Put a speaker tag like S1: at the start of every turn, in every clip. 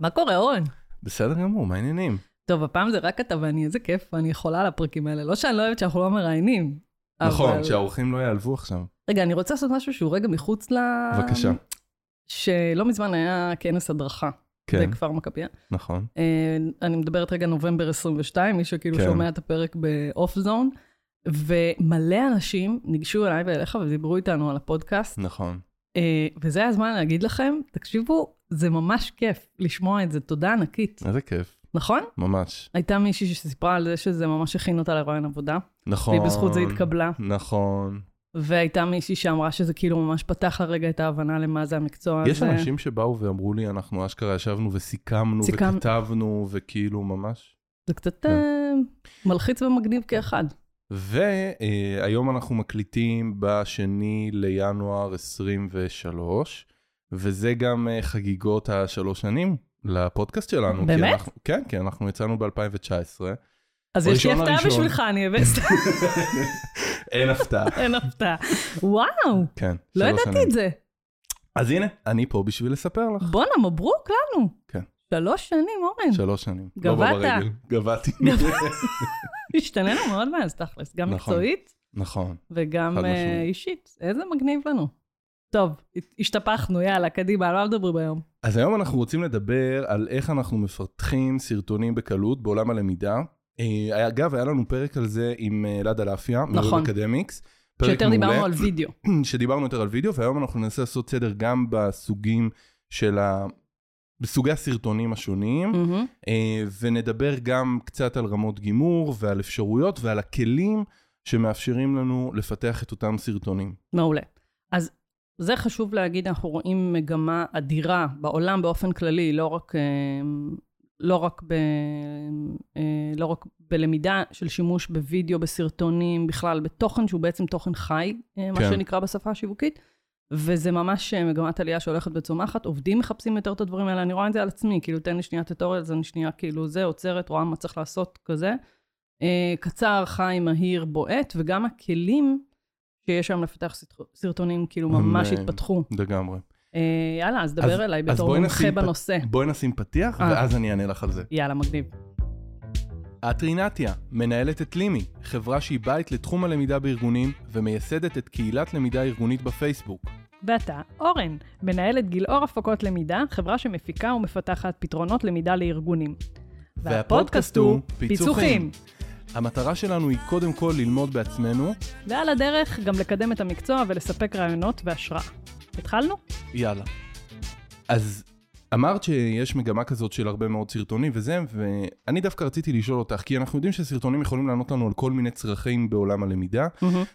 S1: מה קורה, אורן?
S2: בסדר גמור, מה העניינים?
S1: טוב, הפעם זה רק אתה ואני, איזה כיף, אני חולה על הפרקים האלה. לא שאני לא אוהבת שאנחנו לא מראיינים.
S2: נכון,
S1: אבל-
S2: שהאורחים לא ייעלבו עכשיו.
S1: רגע, אני רוצה לעשות משהו שהוא רגע מחוץ ל...
S2: בבקשה.
S1: שלא מזמן היה כנס הדרכה
S2: כן,
S1: בכפר מכבייה.
S2: נכון.
S1: אה, אני מדברת רגע נובמבר 22, מי שכאילו
S2: כן.
S1: שומע את הפרק באוף זון, ומלא אנשים ניגשו אליי ואליך ודיברו איתנו על הפודקאסט.
S2: נכון.
S1: אה, וזה הזמן להגיד לכם, תקשיבו, זה ממש כיף לשמוע את זה, תודה ענקית,
S2: איזה כיף,
S1: נכון?
S2: ממש.
S1: הייתה מישהי שסיפרה על זה שזה ממש הכין אותה לרעיון עבודה,
S2: נכון.
S1: והיא בזכות זה התקבלה,
S2: נכון.
S1: והייתה מישהי שאמרה שזה כאילו ממש פתח לרגע את ההבנה למה זה המקצוע
S2: יש
S1: הזה.
S2: אנשים שבאו ואמרו לי, אנחנו אשכרה ישבנו וסיכמנו
S1: סיכם-
S2: וכתבנו וכאילו ממש.
S1: זה קצת
S2: כן.
S1: אה, מלחיץ ומגניב כאחד.
S2: והיום אנחנו מקליטים בשני לינואר 23, וזה גם אה, חגיגות השלוש שנים לפודקאסט שלנו. כי
S1: באמת?
S2: אנחנו- כן, כן, אנחנו יצאנו ב-2019.
S1: אז יש לי
S2: ראשון
S1: הפתעה
S2: לראשון.
S1: בשבילך, אני אבא סתם,
S2: אין הפתעה.
S1: אין הפתעה. וואו,
S2: כן,
S1: לא
S2: שלוש
S1: ידעתי
S2: שנים.
S1: את זה.
S2: אז הנה, אני פה בשביל לספר לך.
S1: בואנה, מברוק לנו.
S2: כן.
S1: שלוש שנים, אורן.
S2: שלוש שנים.
S1: גבעת.
S2: לא ברגל, גבעתי.
S1: השתננו מאוד מאז, תכלס, גם
S2: נכון.
S1: מקצועית
S2: נכון.
S1: וגם
S2: חד
S1: אה,
S2: משמעית.
S1: אישית. איזה מגניב לנו. טוב, הת- השתפכנו, יאללה, קדימה, על מה מדברים היום?
S2: אז היום אנחנו רוצים לדבר על איך אנחנו מפתחים סרטונים בקלות בעולם הלמידה. אה, אגב, היה לנו פרק על זה עם אה, אלעד אלאפיה,
S1: נכון.
S2: מרוב אקדמיקס. פרק
S1: שיותר
S2: מעולה,
S1: דיברנו על וידאו.
S2: שדיברנו יותר על וידאו, והיום אנחנו ננסה לעשות סדר גם בסוגים של ה... בסוגי הסרטונים השונים,
S1: מהמם.
S2: אה, ונדבר גם קצת על רמות גימור ועל אפשרויות ועל הכלים שמאפשרים לנו לפתח את אותם סרטונים.
S1: מעולה. אז זה חשוב להגיד, אנחנו רואים מגמה אדירה בעולם באופן כללי, לא רק, אה, לא רק, ב, אה, לא רק בלמידה של שימוש בווידאו, בסרטונים, בכלל בתוכן שהוא בעצם תוכן חי, אה, מה
S2: כן.
S1: שנקרא בשפה השיווקית, וזה ממש אה, מגמת עלייה שהולכת וצומחת, עובדים מחפשים יותר את הדברים האלה, אני רואה את זה על עצמי, כאילו תן לי שנייה טוטוריאל, אז אני שנייה כאילו זה, עוצרת, רואה מה צריך לעשות, כזה. אה, קצר, חי, מהיר, בועט, וגם הכלים שיש היום לפתח סרט- סרטונים כאילו ממש
S2: אמן.
S1: התפתחו.
S2: לגמרי.
S1: אה, יאללה, אז
S2: אז-
S1: דבר אליי
S2: אז
S1: בתור
S2: בואי
S1: מומחה
S2: נשים פ-
S1: בנושא.
S2: בואי נשים פתיח,
S1: אה.
S2: ואז אני אענה לך על זה.
S1: יאללה, מגניב.
S2: את רינתיה, מנהלת את לימי, חברה שהיא בית לתחום הלמידה בארגונים, ומייסדת את קהילת למידה ארגונית בפייסבוק.
S1: ואתה, אורן, מנהלת גילאור הפקות למידה, חברה שמפיקה ומפתחת פתרונות למידה לארגונים.
S2: והפודקאסט הוא פיצוחים. המטרה שלנו היא קודם כל ללמוד בעצמנו.
S1: ועל הדרך גם לקדם את המקצוע ולספק רעיונות והשראה. התחלנו?
S2: יאללה. אז אמרת שיש מגמה כזאת של הרבה מאוד סרטונים וזה, ואני דווקא רציתי לשאול אותך, כי אנחנו יודעים שסרטונים יכולים לענות לנו על כל מיני צרכים בעולם הלמידה.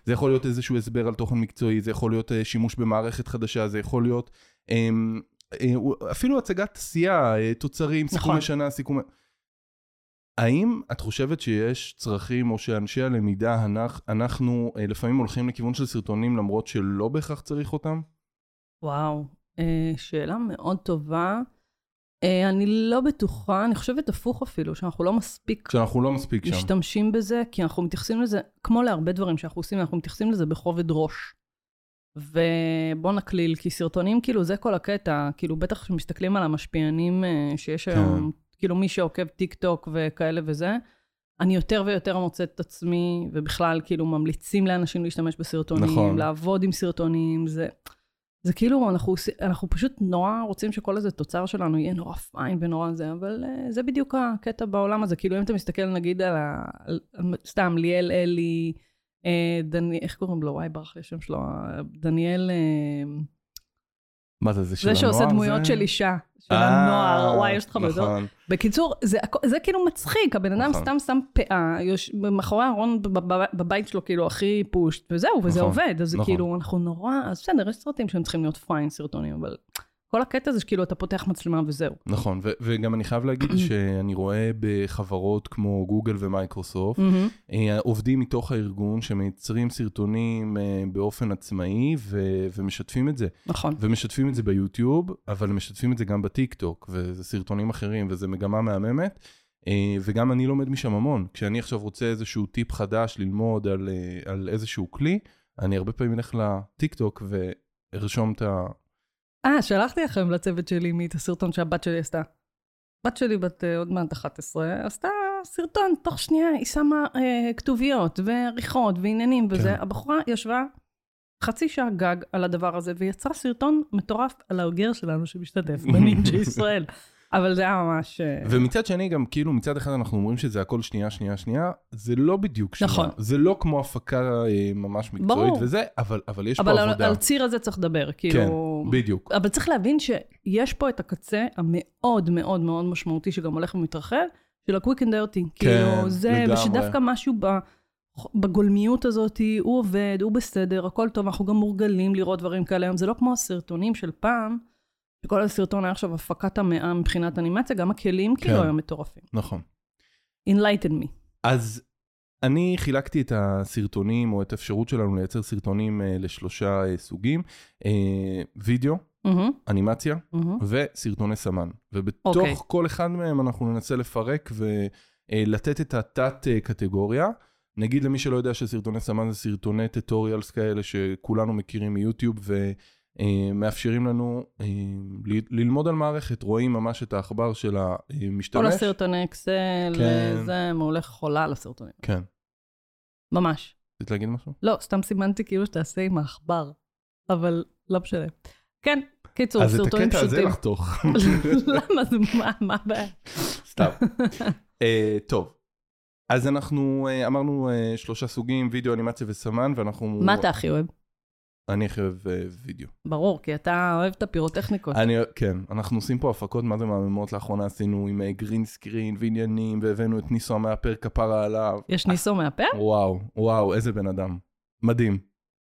S2: זה יכול להיות איזשהו הסבר על תוכן מקצועי, זה יכול להיות אה, שימוש במערכת חדשה, זה יכול להיות אמ, אה, הוא- אפילו הצגת עשייה, אה, תוצרים,
S1: נכון.
S2: סיכומי שנה, סיכומי... האם את חושבת שיש צרכים או שאנשי הלמידה, הנח- אנחנו אה, לפעמים הולכים לכיוון של סרטונים למרות שלא בהכרח צריך אותם?
S1: וואו, אה, שאלה מאוד טובה. אה, אני לא בטוחה, אני חושבת הפוך אפילו, שאנחנו לא מספיק
S2: שאנחנו לא מספיק שם.
S1: משתמשים בזה, כי אנחנו מתייחסים לזה, כמו להרבה דברים שאנחנו עושים, אנחנו מתייחסים לזה בכובד ראש. ובוא נקליל, כי סרטונים, כאילו, זה כל הקטע, כאילו, בטח כשמסתכלים על המשפיענים אה, שיש היום, כאילו, מי שעוקב טיק טוק וכאלה וזה, אני יותר ויותר מוצאת את עצמי, ובכלל, כאילו, ממליצים לאנשים להשתמש בסרטונים,
S2: נכון.
S1: לעבוד עם סרטונים, זה... זה כאילו, אנחנו, עושים- אנחנו פשוט נורא רוצים שכל איזה תוצר שלנו יהיה נורא פיין ונורא זה, אבל אה, זה בדיוק הקטע בעולם הזה. כאילו, אם אתה מסתכל נגיד על ה... על, על- סתם, ליאל אלי, אה, דני, איך קוראים לו? וואי, ברח לי השם שלו. אה, דניאל, אה,
S2: מה זה, זה של
S1: זה
S2: הנוער?
S1: שעושה דמויות
S2: זה?
S1: של אישה, של
S2: אה,
S1: הנוער, וואי, יש לך בזה.
S2: נכון.
S1: בקיצור, זה, הכ- זה כאילו מצחיק, הבן אדם
S2: נכון.
S1: סתם שם פאה, יוש, מאחורי הארון בב- בב- בבית שלו כאילו הכי פושט, וזהו, וזה
S2: נכון,
S1: עובד, אז
S2: נכון.
S1: כאילו אנחנו נורא, אז בסדר, יש סרטים שהם צריכים להיות פיין סרטונים, אבל כל הקטע זה שכאילו אתה פותח מצלמה וזהו.
S2: נכון, ו- וגם אני חייב להגיד שאני רואה בחברות כמו גוגל ומייקרוסופט,
S1: Mm.
S2: אה, עובדים מתוך הארגון שמייצרים סרטונים אה, באופן עצמאי ו- ומשתפים את זה.
S1: נכון.
S2: ומשתפים את זה ביוטיוב, אבל משתפים את זה גם בטיקטוק, וזה סרטונים אחרים, וזה מגמה מהממת. אה, וגם אני לומד משם המון. כשאני עכשיו רוצה איזשהו טיפ חדש ללמוד על, אה, על איזשהו כלי, אני הרבה פעמים אלך לטיקטוק וארשום את ה...
S1: אה, שלחתי לכם לצוות שלי מי את הסרטון שהבת שלי עשתה. הבת שלי בת אה, עוד מעט 11, עשתה סרטון, תוך שנייה היא שמה אה, כתוביות ועריכות ועניינים וזה.
S2: כן.
S1: הבחורה ישבה חצי שעה גג על הדבר הזה, ויצרה סרטון מטורף על האוגר שלנו שמשתתף בנינג'ה ישראל. אבל זה היה ממש... אה,
S2: ומצד שני גם כאילו מצד אחד אנחנו אומרים שזה הכל שנייה שנייה שנייה זה לא בדיוק שנייה.
S1: נכון.
S2: זה לא כמו הפקה אה, ממש מקצועית
S1: ברור.
S2: וזה אבל אבל יש
S1: אבל
S2: פה
S1: על,
S2: עבודה.
S1: על ציר הזה צריך לדבר,
S2: כן
S1: כאילו...
S2: בדיוק.
S1: אבל צריך להבין שיש פה את הקצה המאוד מאוד מאוד משמעותי, שגם הולך ומתרחב, של ה-quick and dirty. כאילו, זה,
S2: כן, לגמרי.
S1: ושדווקא משהו ב, בגולמיות הזאת, הוא עובד, הוא בסדר, הכל טוב, אנחנו גם מורגלים לראות דברים כאלה היום. זה לא כמו הסרטונים של פעם, שכל הסרטון היה עכשיו הפקת המאה מבחינת אנימציה, גם הכלים כאילו
S2: כן.
S1: היו מטורפים.
S2: נכון.
S1: Enlighten me.
S2: אז אני חילקתי את הסרטונים או את האפשרות שלנו לייצר סרטונים אה, לשלושה אה, סוגים אה, וידאו
S1: מהמם,
S2: אנימציה
S1: מהמם.
S2: וסרטוני סמן. ובתוך
S1: אוקיי.
S2: okay. כל אחד מהם אנחנו ננסה לפרק ולתת את התת-קטגוריה. נגיד למי שלא יודע שסרטוני סמן זה סרטוני טוטוריאלס כאלה שכולנו מכירים מיוטיוב ומאפשרים לנו אה, ל- ללמוד על מערכת, רואים ממש את העכבר של
S1: כל
S2: המשתמש.
S1: הסרטוני אקסל,
S2: כן.
S1: זה, מעולה חולה על הסרטונים.
S2: כן.
S1: ממש.
S2: רצית להגיד משהו?
S1: לא, סתם סימנתי כאילו שתעשה עם העכבר, אבל לא משנה. כן, קיצור,
S2: אז את
S1: סרטונים
S2: הקטע הזה
S1: פשוטים.
S2: לא- לחתוך.
S1: למה זה, מה- מה הבעיה?
S2: סתם. אה, טוב. אז אנחנו אה, אמרנו אה, שלושה סוגים, וידאו, אנימציה וסמן, ואנחנו... אה,
S1: מה אתה הכי אוהב?
S2: אני הכי אוהב אה, וידאו.
S1: ברור, כי אתה אוהב את הפירוטכניקות.
S2: אני, כן, אנחנו עושים פה הפקות מה זה מהממות לאחרונה עשינו עם אה, גרין סקרין ועניינים והבאנו את ניסו המאפר כפרה עליו.
S1: יש ניסו מהפר?
S2: וואו, וואו, איזה בן אדם. מדהים.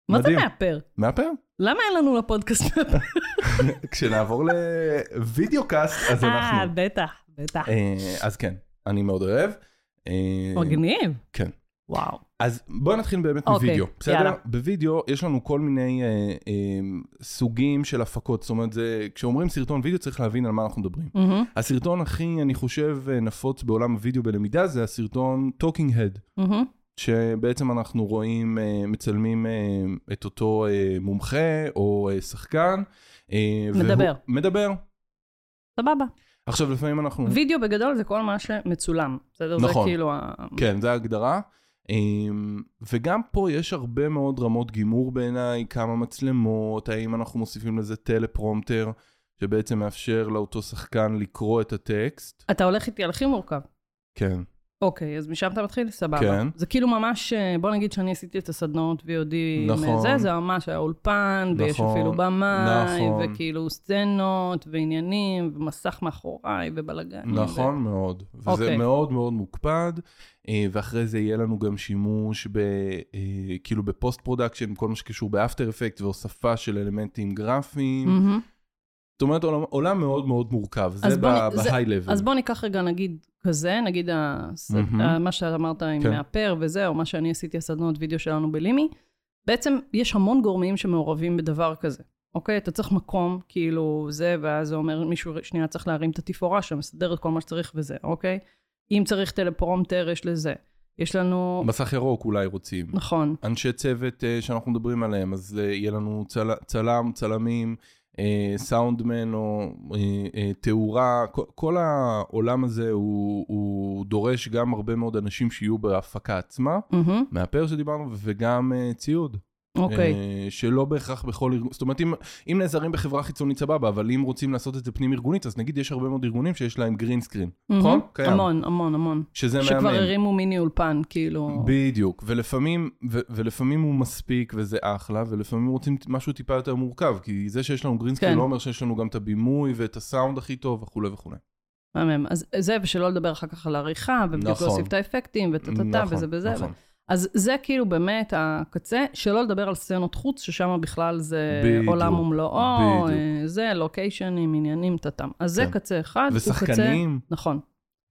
S1: מה זה
S2: מדהים.
S1: מהפר?
S2: מאפר?
S1: למה אין לנו לפודקאסט מהפר?
S2: כשנעבור לוידאו קאסט, אז
S1: אה,
S2: אנחנו...
S1: בטח, בטח.
S2: אה, אז כן, אני מאוד אוהב. אה,
S1: מגניב.
S2: כן.
S1: וואו.
S2: אז בואו נתחיל באמת
S1: אוקיי,
S2: מווידאו,
S1: יאללה.
S2: בסדר? בווידאו יש לנו כל מיני אה, אה, סוגים של הפקות, זאת אומרת, זה- כשאומרים סרטון וידאו צריך להבין על מה אנחנו מדברים.
S1: מהמם,
S2: הסרטון הכי, אני חושב, אה, נפוץ בעולם הוידאו בלמידה זה הסרטון Talking Head,
S1: מהמם,
S2: שבעצם אנחנו רואים, אה, מצלמים אה, את אותו אה, מומחה או אה, שחקן. אה, והוא-
S1: מדבר.
S2: מדבר.
S1: סבבה.
S2: עכשיו, לפעמים אנחנו...
S1: וידאו בגדול זה כל מה שמצולם. בסדר? זה
S2: נכון.
S1: כאילו ה...
S2: כן, זו ההגדרה. אמ, וגם פה יש הרבה מאוד רמות גימור בעיניי, כמה מצלמות, האם אנחנו מוסיפים לזה טלפרומטר, שבעצם מאפשר לאותו שחקן לקרוא את הטקסט.
S1: אתה הולך איתי על הכי מורכב.
S2: כן,
S1: אוקיי, אז משם אתה מתחיל? סבבה.
S2: כן.
S1: זה כאילו ממש, אה, בוא נגיד שאני עשיתי את הסדנאות VOD, עם, אה,
S2: נכון.
S1: זה, זה ממש היה אולפן, ויש
S2: נכון,
S1: אפילו במאי,
S2: נכון.
S1: וכאילו סצנות, ועניינים, ומסך מאחוריי, ובלאגנים.
S2: נכון מאוד. וזה
S1: אוקיי.
S2: מאוד מאוד מוקפד, אה, ואחרי זה יהיה לנו גם שימוש ב... אה, כאילו בפוסט פרודקשן, כל מה שקשור באפטר אפקט והוספה של אלמנטים
S1: ו...
S2: גרפיים.
S1: מהמם.
S2: זאת אומרת, עולם- עולם מאוד מאוד מורכב, זה
S1: Mm. אז בוא נ- זה-
S2: בהיי-לבל.
S1: אז בוא ניקח רגע, נגיד, כזה, נגיד הס...
S2: כן. מהמם.
S1: ה- מה שאמרת עם
S2: כן.
S1: מהפר וזה, או מה שאני עשיתי, הסדנאות וידאו שלנו בלימי. בעצם, יש המון גורמים שמעורבים בדבר כזה. אוקיי, אתה צריך מקום, כאילו, זה, ואז זה אומר, מישהו שנייה צריך להרים את התפאורה שם, לסדר את כל מה שצריך וזה, אוקיי? אם צריך טלפרומטר, יש לזה. יש לנו...
S2: מסך ירוק אולי רוצים.
S1: נכון.
S2: אנשי צוות אה, שאנחנו מדברים עליהם, אז אה, יהיה לנו צל, צלם, צלמים, אה, סאונדמן או אה, אה, תאורה, כל, כל העולם הזה הוא, הוא דורש גם הרבה מאוד אנשים שיהיו בהפקה עצמה,
S1: מהמם,
S2: מהפר שדיברנו, וגם אה, ציוד.
S1: אוקיי.
S2: אה, שלא בהכרח בכל ארגון, זאת אומרת, אם, אם נעזרים בחברה חיצונית סבבה, אבל אם רוצים לעשות את זה פנים ארגונית, אז נגיד יש הרבה מאוד ארגונים שיש להם גרין סקרין,
S1: מהמם.
S2: נכון? קיים.
S1: המון, המון, המון.
S2: שזה מהמם.
S1: שכבר הרימו מיני אולפן, כאילו...
S2: בדיוק, ולפעמים, ו- ולפעמים הוא מספיק וזה אחלה, ולפעמים רוצים משהו טיפה יותר מורכב, כי זה שיש לנו גרינסקרין
S1: כן.
S2: לא אומר שיש לנו גם את הבימוי ואת הסאונד הכי טוב וכולי וכולי.
S1: מהמם. אז זה, ושלא לדבר אחר כך על העריכה, ובדיוק
S2: נכון.
S1: להוסיף את האפקטים, וטה-טה-טה, וזה וזה.
S2: נכון.
S1: אז זה כאילו באמת הקצה, שלא לדבר על סצנות חוץ, ששם בכלל זה
S2: בדיוק,
S1: עולם ומלואו,
S2: בדיוק.
S1: אה, זה לוקיישנים, עניינים, טאטאם. אז זה
S2: כן.
S1: קצה אחד, הוא קצה...
S2: ושחקנים,
S1: נכון,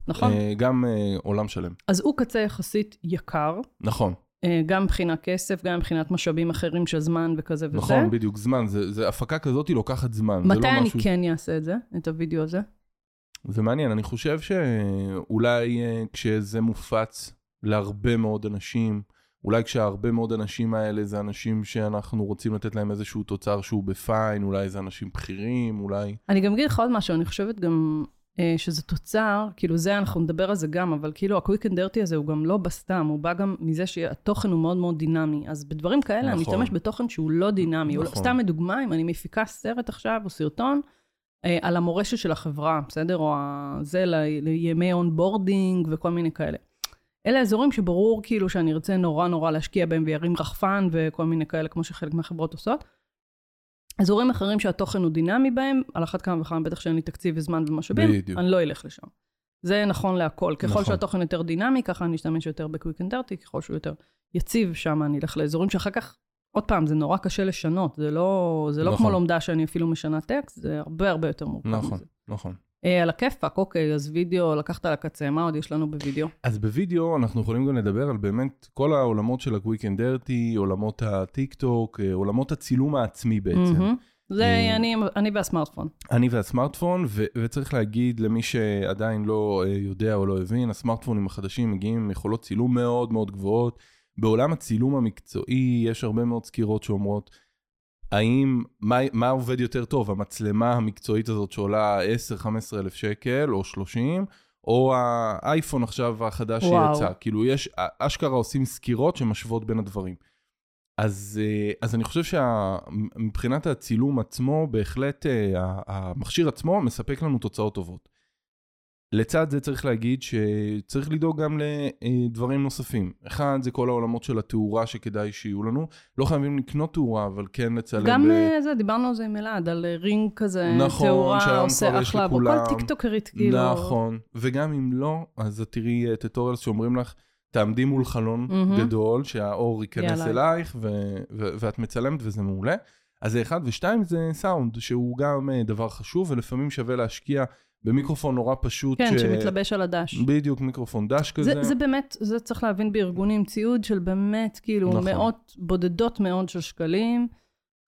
S1: נכון.
S2: אה, גם אה, עולם שלם.
S1: אז הוא קצה יחסית יקר,
S2: נכון,
S1: אה, גם מבחינת כסף, גם מבחינת משאבים אחרים של זמן וכזה וזה.
S2: נכון, בדיוק, זמן, זה, זה, הפקה כזאת היא לוקחת זמן, זה
S1: מתי
S2: לא
S1: אני
S2: משהו...
S1: כן אעשה את זה, את הוידאו הזה?
S2: זה מעניין, אני חושב שאולי אה, כשזה מופץ להרבה מאוד אנשים, אולי כשהרבה מאוד אנשים האלה זה אנשים שאנחנו רוצים לתת להם איזשהו תוצר שהוא בפיין, אולי זה אנשים בכירים, אולי...
S1: אני גם אגיד לך עוד משהו, אני חושבת גם אה, שזה תוצר, כאילו זה, אנחנו נדבר על זה גם, אבל כאילו הקוויק אנד דרטי הזה הוא גם לא בסתם, הוא בא גם מזה שהתוכן הוא מאוד מאוד דינמי. אז בדברים כאלה אני
S2: נכון.
S1: משתמש בתוכן שהוא לא דינמי. הוא לא-
S2: נכון.
S1: סתם לדוגמה, אם אני מפיקה סרט עכשיו או סרטון, אה, על המורשת של החברה, בסדר? או ה- זה ל- לימי אונבורדינג וכל מיני כאלה. אלה אזורים שברור כאילו שאני ארצה נורא נורא להשקיע בהם וירים רחפן וכל מיני כאלה, כמו שחלק מהחברות עושות. אזורים אחרים שהתוכן הוא דינמי בהם, על אחת כמה וכמה בטח שאין לי תקציב וזמן ומשאבים,
S2: בדיוק.
S1: אני לא אלך לשם. זה נכון להכל. ככל
S2: נכון.
S1: שהתוכן יותר דינמי, ככה אני אשתמש יותר בקוויק אנד דרטי, ככל שהוא יותר יציב, שם אני אלך לאזורים שאחר כך, עוד פעם, זה נורא קשה לשנות, זה לא, זה לא
S2: נכון.
S1: כמו לומדה שאני אפילו משנה טקסט, זה הרבה הרבה יותר מורכב.
S2: נכון,
S1: מזה.
S2: נכון.
S1: אה, על הכיפאק, אוקיי, אז וידאו לקחת לקצה, מה עוד יש לנו בוידאו?
S2: אז בווידאו אנחנו יכולים גם לדבר על באמת כל העולמות של ה-Quick and Dirty, עולמות הטיק טוק, אה, עולמות הצילום העצמי בעצם.
S1: מהמם. זה
S2: אה,
S1: אני- אני והסמארטפון.
S2: אני והסמארטפון, ו- וצריך להגיד למי שעדיין לא אה, יודע או לא הבין, הסמארטפונים החדשים מגיעים עם יכולות צילום מאוד מאוד גבוהות. בעולם הצילום המקצועי יש הרבה מאוד סקירות שאומרות, האם, מה, מה עובד יותר טוב, המצלמה המקצועית הזאת שעולה 10-15 אלף שקל או 30, או האייפון עכשיו החדש
S1: וואו.
S2: שיצא. כאילו יש, אשכרה עושים סקירות שמשוות בין הדברים. אז, אה, אז אני חושב שמבחינת הצילום עצמו, בהחלט אה, ה- המכשיר עצמו מספק לנו תוצאות טובות. לצד זה צריך להגיד שצריך לדאוג גם לדברים נוספים. אחד, זה כל העולמות של התאורה שכדאי שיהיו לנו. לא חייבים לקנות תאורה, אבל כן לצלם.
S1: גם
S2: ב-
S1: אה, זה, דיברנו על זה עם אלעד, על אה, רינג כזה,
S2: נכון,
S1: תאורה,
S2: שהיום
S1: עושה
S2: כבר יש
S1: אחלה, עבודה.
S2: לכולם.
S1: כל טיקטוקרית, כאילו.
S2: נכון, וגם אם לא, אז את תראי אה, טוטוריאלס שאומרים לך, תעמדי מול חלון
S1: מהמם.
S2: גדול, שהאור ייכנס
S1: יאללה.
S2: אלייך, ו- ו- ואת מצלמת וזה מעולה. אז זה אחד, ושתיים זה סאונד, שהוא גם אה, דבר חשוב, ולפעמים שווה להשקיע במיקרופון נורא פשוט.
S1: כן,
S2: ש-
S1: שמתלבש על הדש.
S2: בדיוק, מיקרופון דש כזה.
S1: זה, זה באמת, זה צריך להבין בארגונים, ציוד של באמת, כאילו,
S2: נכון.
S1: נכון. מאות, בודדות מאוד של שקלים,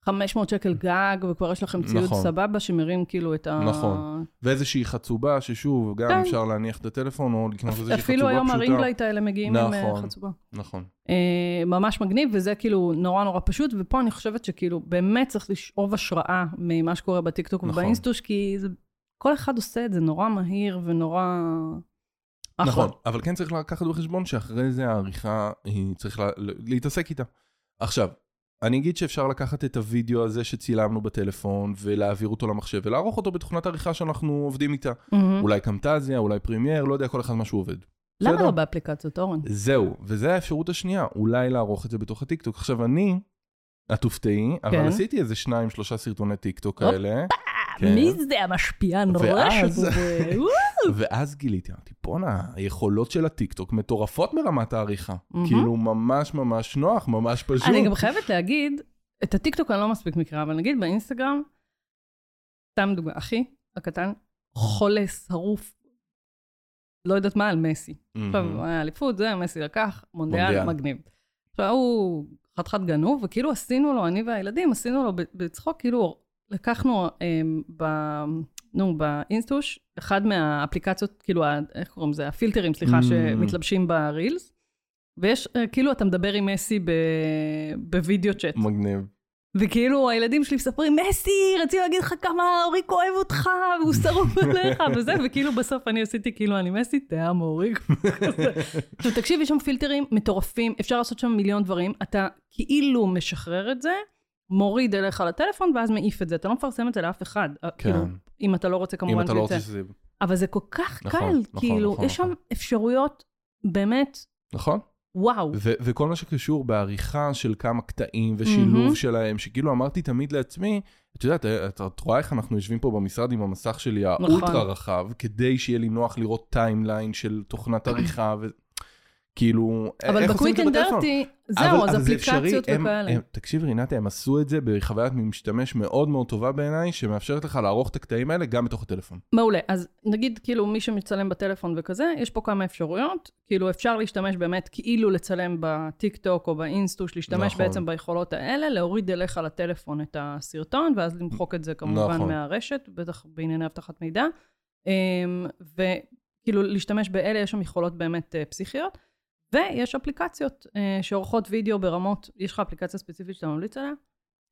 S1: 500 שקל גג, וכבר יש לכם ציוד
S2: נכון.
S1: סבבה שמרים כאילו את ה...
S2: נכון. ואיזושהי חצובה, ששוב, גם
S1: כן.
S2: אפשר להניח את הטלפון, או לקנות איזושהי חצובה פשוטה.
S1: אפילו היום הרינגלייט האלה מגיעים עם אה,
S2: נכון.
S1: חצובה.
S2: נכון.
S1: אה, ממש מגניב, וזה כאילו נורא נורא פשוט, ופה אני חושבת שכאילו באמת צריך לשאוב השראה ממה שקורה בטיקטוק
S2: נכון.
S1: ובאינסטוש, כי זה, כל אחד עושה את זה נורא מהיר ונורא... אחלה.
S2: נכון, אבל כן צריך לקחת בחשבון שאחרי זה העריכה, היא צריך לה, להתעסק איתה. עכשיו, אני אגיד שאפשר לקחת את הוידאו הזה שצילמנו בטלפון ולהעביר אותו למחשב ולערוך אותו בתוכנת עריכה שאנחנו עובדים איתה.
S1: מהמם.
S2: אולי קמטזיה, אולי פרימייר, לא יודע, כל אחד מה שהוא עובד.
S1: למה
S2: בסדר?
S1: לא באפליקציות, אורן?
S2: זהו, וזו האפשרות השנייה, אולי לערוך את זה בתוך הטיקטוק. עכשיו, אני, את תופתעי, אבל
S1: כן.
S2: עשיתי איזה שניים, שלושה סרטוני טיקטוק
S1: הופ.
S2: כאלה. כן.
S1: מי זה המשפיען
S2: ואז-
S1: רשת הזה?
S2: ואז גיליתי, אמרתי, בואנה, היכולות של הטיקטוק מטורפות מרמת העריכה.
S1: מהמם.
S2: כאילו, ממש ממש נוח, ממש פשוט.
S1: אני גם חייבת להגיד, את הטיקטוק אני לא מספיק מכירה, אבל נגיד באינסטגרם, סתם דוגמא, אחי הקטן, חולה, שרוף, לא יודעת מה, על מסי.
S2: מהמם.
S1: עכשיו, היה אה, אליפות, זה, מסי לקח, מונדיאל,
S2: מונדיאל.
S1: מגניב. עכשיו, הוא חתיכת גנוב, וכאילו עשינו לו, אני והילדים, עשינו לו ב- בצחוק, כאילו לקחנו אמ, ב... נו, באינסטוש, אחד מהאפליקציות, כאילו, ה- איך קוראים לזה? הפילטרים, סליחה,
S2: Mm.
S1: שמתלבשים ברילס, ויש, אה, כאילו, אתה מדבר עם מסי ב- בווידאו צ'אט.
S2: מגניב.
S1: וכאילו הילדים שלי מספרים, מסי, רציתי להגיד לך כמה אוריק אוהב אותך, והוא שרוף עליך, וזה, וכאילו בסוף אני עשיתי כאילו, אני מסי, תאם אוריק. כזה. עכשיו תקשיב, יש שם פילטרים מטורפים, אפשר לעשות שם מיליון דברים, אתה כאילו משחרר את זה, מוריד אליך לטלפון, ואז מעיף את זה, אתה לא מפרסם את זה לאף אחד.
S2: כן.
S1: כאילו, אם אתה לא רוצה
S2: אם
S1: כמובן
S2: אתה לא
S1: שיוצא.
S2: רוצה שזה...
S1: אבל זה כל כך
S2: נכון,
S1: קל,
S2: נכון,
S1: כאילו,
S2: נכון,
S1: יש שם
S2: נכון.
S1: אפשרויות באמת,
S2: נכון?
S1: וואו.
S2: ו- וכל מה שקשור בעריכה של כמה קטעים ושילוב
S1: מהמם.
S2: שלהם, שכאילו אמרתי תמיד לעצמי, את יודעת, אה, את, את רואה איך אנחנו יושבים פה במשרד עם המסך שלי
S1: נכון.
S2: האולטרה רחב, כדי שיהיה לי נוח לראות טיימליין של תוכנת עריכה, ו... כאילו,
S1: אבל
S2: איך
S1: בקוויק
S2: עושים את זה
S1: אנד
S2: בטלפון?
S1: דרטי,
S2: אבל-
S1: זהו, אז
S2: אבל זה אפשרי,
S1: אפליקציות
S2: הם-
S1: וכאלה.
S2: הם- תקשיבי, רינתי, הם עשו את זה בחוויית משתמש מאוד מאוד טובה בעיניי, שמאפשרת לך לערוך את הקטעים האלה גם בתוך הטלפון.
S1: מעולה, אז נגיד כאילו מי שמצלם בטלפון וכזה, יש פה כמה אפשרויות. כאילו אפשר להשתמש באמת כאילו לצלם בטיק טוק או באינסטוש, להשתמש
S2: נכון.
S1: נכון. בעצם ביכולות האלה, להוריד אליך לטלפון את הסרטון, ואז למחוק את זה כמובן
S2: נכון.
S1: נכון. מהרשת, בטח בענייני אבטחת מידע. אמ, וכאילו להשתמש באלה, יש שם יכולות באמת אה, פסיכיות. ויש אפליקציות אה, שעורכות וידאו ברמות, יש לך אפליקציה ספציפית שאתה ממליץ עליה?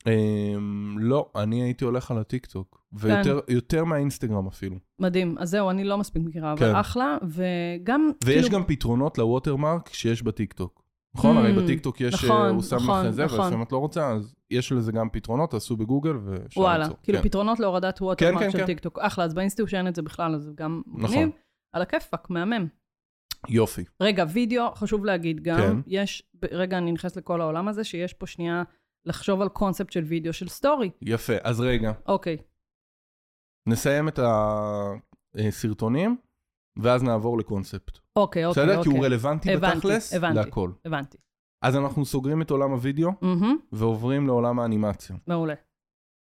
S2: אמ, לא, אני הייתי הולך על הטיקטוק, ויותר
S1: כן.
S2: יותר מהאינסטגרם אפילו.
S1: מדהים. אז זהו, אני לא מספיק מכירה, אבל
S2: כן.
S1: אחלה, וגם,
S2: ויש
S1: כאילו,
S2: גם פתרונות לווטרמרק שיש בטיקטוק. נכון?
S1: Mm,
S2: הרי בטיקטוק יש,
S1: נכון,
S2: אה, הוא שם
S1: נכון,
S2: לך את זה,
S1: נכון.
S2: ולפעמים את לא רוצה, אז יש לזה גם פתרונות, תעשו בגוגל ואפשר
S1: וואלה,
S2: למצוא.
S1: כאילו
S2: כן.
S1: פתרונות להורדת ווטרמרק
S2: כן,
S1: של
S2: כן.
S1: טיקטוק. אחלה, אז באינסטיוט שאין את זה בכלל, אז זה גם
S2: נכון.
S1: מגניב. על הכיפאק, מהמם.
S2: יופי.
S1: רגע, וידאו, חשוב להגיד גם,
S2: כן.
S1: יש, ב- רגע, אני נכנסת לכל העולם הזה, שיש פה שנייה לחשוב על קונספט של וידאו של סטורי.
S2: יפה, אז רגע,
S1: אוקיי,
S2: נסיים את הסרטונים, ואז נעבור לקונספט.
S1: אוקיי, אוקיי.
S2: בסדר? כי
S1: אוקיי.
S2: הוא רלוונטי
S1: הבנתי,
S2: בתכלס
S1: הבנתי.
S2: להכל.
S1: הבנתי.
S2: אז אנחנו סוגרים את עולם הוידאו
S1: מהמם,
S2: ועוברים לעולם האנימציה.
S1: מעולה.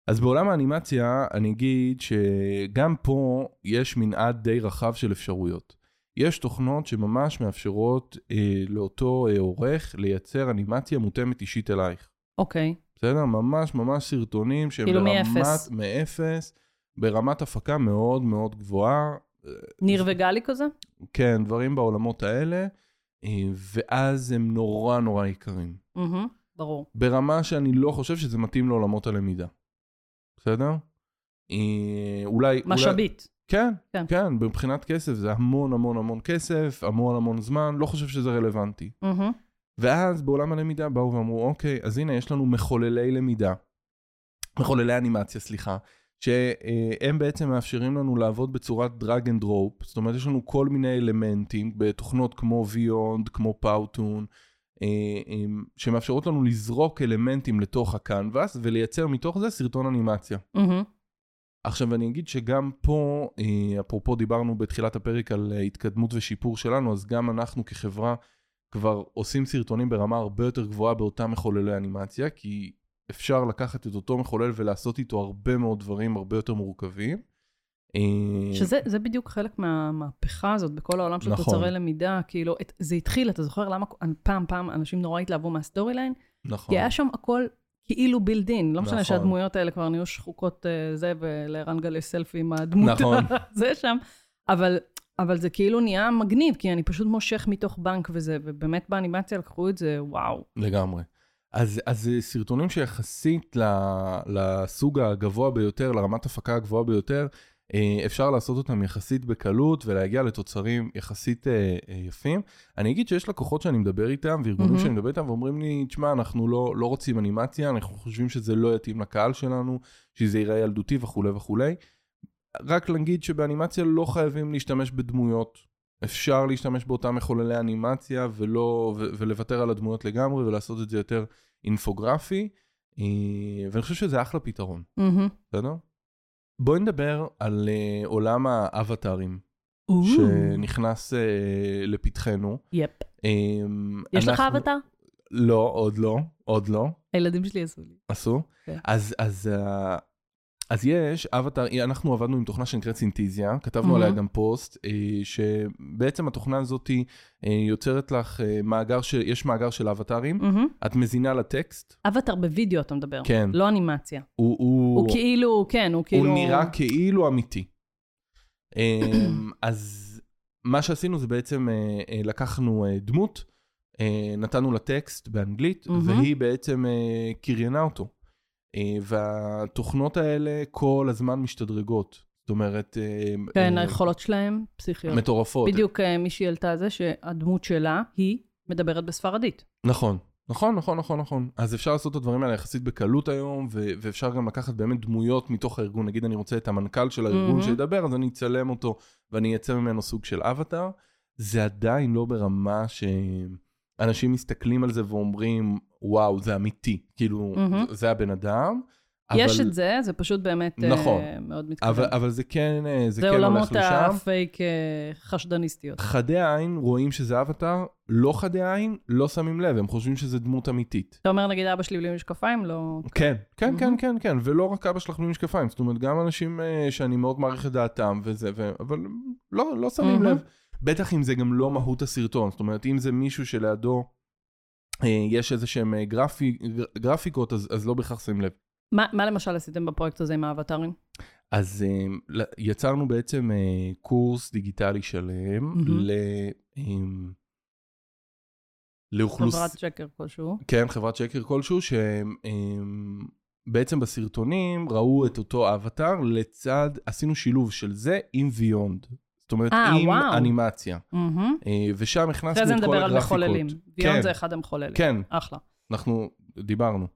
S2: אז בעולם האנימציה אני אגיד שגם פה יש מנעד די רחב של אפשרויות. יש תוכנות שממש מאפשרות אה, לאותו אה, עורך לייצר אנימציה מותאמת אישית אלייך.
S1: אוקיי,
S2: בסדר? ממש ממש סרטונים שהם
S1: כאילו
S2: ברמת...
S1: מאפס.
S2: מאפס. ברמת הפקה מאוד מאוד גבוהה.
S1: ניר וגלי כזה?
S2: כן, דברים בעולמות האלה. אה, ואז הם נורא נורא יקרים.
S1: מהמם, ברור.
S2: ברמה שאני לא חושב שזה מתאים לעולמות הלמידה. בסדר? אה, אולי... אולי...
S1: משאבית.
S2: כן,
S1: כן.
S2: כן, כן, מבחינת כסף זה המון המון המון כסף, המון המון זמן, לא חושב שזה רלוונטי.
S1: מהמם,
S2: ואז בעולם הלמידה באו ואמרו, אוקיי, אז הנה יש לנו מחוללי למידה, מחוללי אנימציה, סליחה, שהם בעצם מאפשרים לנו לעבוד בצורת דרג אנד רופ, זאת אומרת יש לנו כל מיני אלמנטים בתוכנות כמו ויונד, כמו פאוטון, אה, אה, שמאפשרות לנו לזרוק אלמנטים לתוך הקנבאס ולייצר מתוך זה סרטון אנימציה.
S1: מהמם,
S2: עכשיו אני אגיד שגם פה, אה, אפרופו דיברנו בתחילת הפרק על אה, התקדמות ושיפור שלנו, אז גם אנחנו כחברה כבר עושים סרטונים ברמה הרבה יותר גבוהה באותם מחוללי אנימציה, כי אפשר לקחת את אותו מחולל ולעשות איתו הרבה מאוד דברים הרבה יותר מורכבים. אה,
S1: שזה זה בדיוק חלק מהמהפכה הזאת בכל העולם של
S2: נכון.
S1: תוצרי למידה, כאילו, את- זה התחיל, אתה זוכר למה פעם פעם אנשים נורא התלהבו מהסטורי ליין?
S2: נכון.
S1: כי היה שם הכל כאילו בילד אין. לא משנה
S2: נכון.
S1: שהדמויות האלה כבר נהיו שחוקות אה, זה, ולערן גל יש סלפי עם הדמות
S2: נכון.
S1: הזה שם, אבל, אבל זה כאילו נהיה מגניב, כי אני פשוט מושך מתוך בנק וזה, ובאמת באנימציה לקחו את זה, וואו.
S2: לגמרי. אז, אז זה סרטונים שיחסית ל, לסוג הגבוה ביותר, לרמת הפקה הגבוהה ביותר, אה, אפשר לעשות אותם יחסית בקלות ולהגיע לתוצרים יחסית אה, אה, יפים. אני אגיד שיש לקוחות שאני מדבר איתם, וארגונים
S1: מהמם.
S2: שאני מדבר איתם, ואומרים לי, תשמע, אנחנו לא, לא רוצים אנימציה, אנחנו חושבים שזה לא יתאים לקהל שלנו, שזה ייראה ילדותי וכולי וכולי. רק להגיד שבאנימציה לא חייבים להשתמש בדמויות. אפשר להשתמש באותם מחוללי אנימציה ולא, ו- ולוותר על הדמויות לגמרי ולעשות את זה יותר אינפוגרפי, אה, ואני חושב שזה אחלה פתרון,
S1: מהמם.
S2: בסדר? בואי נדבר על אה, עולם האבטארים שנכנס אה, לפתחנו.
S1: יפ.
S2: אה,
S1: יש לך
S2: אנחנו-
S1: אבטר?
S2: לא, עוד לא, עוד לא.
S1: הילדים שלי עשו לי.
S2: עשו?
S1: כן.
S2: אז, אז, אה, אז יש, אבטאר, אה, אנחנו עבדנו עם תוכנה שנקראת סינתזיה, כתבנו
S1: מהמם.
S2: עליה גם פוסט, אה, שבעצם התוכנה הזאת אה, יוצרת לך אה, מאגר, ש... יש מאגר של אבטארים,
S1: מהמם.
S2: את מזינה לטקסט,
S1: אבטר בווידאו אתה מדבר,
S2: כן,
S1: Mm. לא אנימציה.
S2: הוא, הוא,
S1: הוא כאילו, כן, הוא
S2: הוא
S1: כאילו...
S2: נראה כאילו אמיתי. אמ, אז מה שעשינו זה בעצם אה, אה, לקחנו אה, דמות, אה, נתנו לה טקסט באנגלית,
S1: מהמם.
S2: והיא בעצם אה, קריינה אותו. אה, והתוכנות האלה כל הזמן משתדרגות. זאת אומרת... אה,
S1: כן,
S2: אה,
S1: היכולות שלהם פסיכיות.
S2: מטורפות.
S1: בדיוק אה, מישהי העלתה זה שהדמות שלה, היא מדברת בספרדית.
S2: נכון. נכון, נכון, נכון, נכון. אז אפשר לעשות את הדברים האלה יחסית בקלות היום, ו- ואפשר גם לקחת באמת דמויות מתוך הארגון. נגיד אני רוצה את המנכ"ל של הארגון
S1: מהמם.
S2: mm-hmm. שידבר, אז אני אצלם אותו ואני אייצר ממנו סוג של אבטאר. זה עדיין לא ברמה שאנשים מסתכלים על זה ואומרים, וואו, זה אמיתי. כאילו,
S1: מהמם.
S2: mm-hmm. זה הבן אדם.
S1: יש
S2: אבל-
S1: את זה, זה פשוט באמת אה,
S2: נכון.
S1: מאוד
S2: אבל,
S1: מתקדם.
S2: אבל זה כן, אה, זה
S1: זה
S2: כן
S1: עולמות
S2: הולך לשם.
S1: הפייק אה, חשדניסטיות.
S2: חדי העין רואים שזה אבטאר, לא חדי העין, לא שמים לב, הם חושבים שזה דמות אמיתית.
S1: אתה אומר, נגיד, אבא שלי בלי משקפיים, לא...
S2: כן, כן,
S1: מהמם.
S2: כן, כן, כן, ולא רק אבא שלך בלי משקפיים, זאת אומרת, גם אנשים אה, שאני מאוד מעריך את דעתם וזה, ו... אבל לא, לא שמים
S1: מהמם.
S2: לב. בטח אם זה גם לא מהות הסרטון, זאת אומרת, אם זה מישהו שלידו אה, יש איזה שהם אה, גרפי, גר- גרפיקות, אז, אז לא בהכרח שמים לב.
S1: מה מה למשל עשיתם בפרויקט הזה עם האבטרים?
S2: אז אה, ל- יצרנו בעצם אה, קורס דיגיטלי שלם
S1: מהמם.
S2: ל... אה, לאוכלוס...
S1: חברת שקר כלשהו.
S2: כן, חברת שקר כלשהו, שהם בעצם בסרטונים ראו את אותו אבטאר לצד, עשינו שילוב של זה עם ויונד. זאת אומרת,
S1: אה,
S2: עם
S1: וואו.
S2: אנימציה.
S1: מהמם.
S2: אה, ושם הכנסנו
S1: אחרי
S2: את כל
S1: זה נדבר
S2: הגרפיקות.
S1: על מחוללים.
S2: כן.
S1: ביונד זה אחד המחוללים.
S2: כן,
S1: אחלה.
S2: אנחנו דיברנו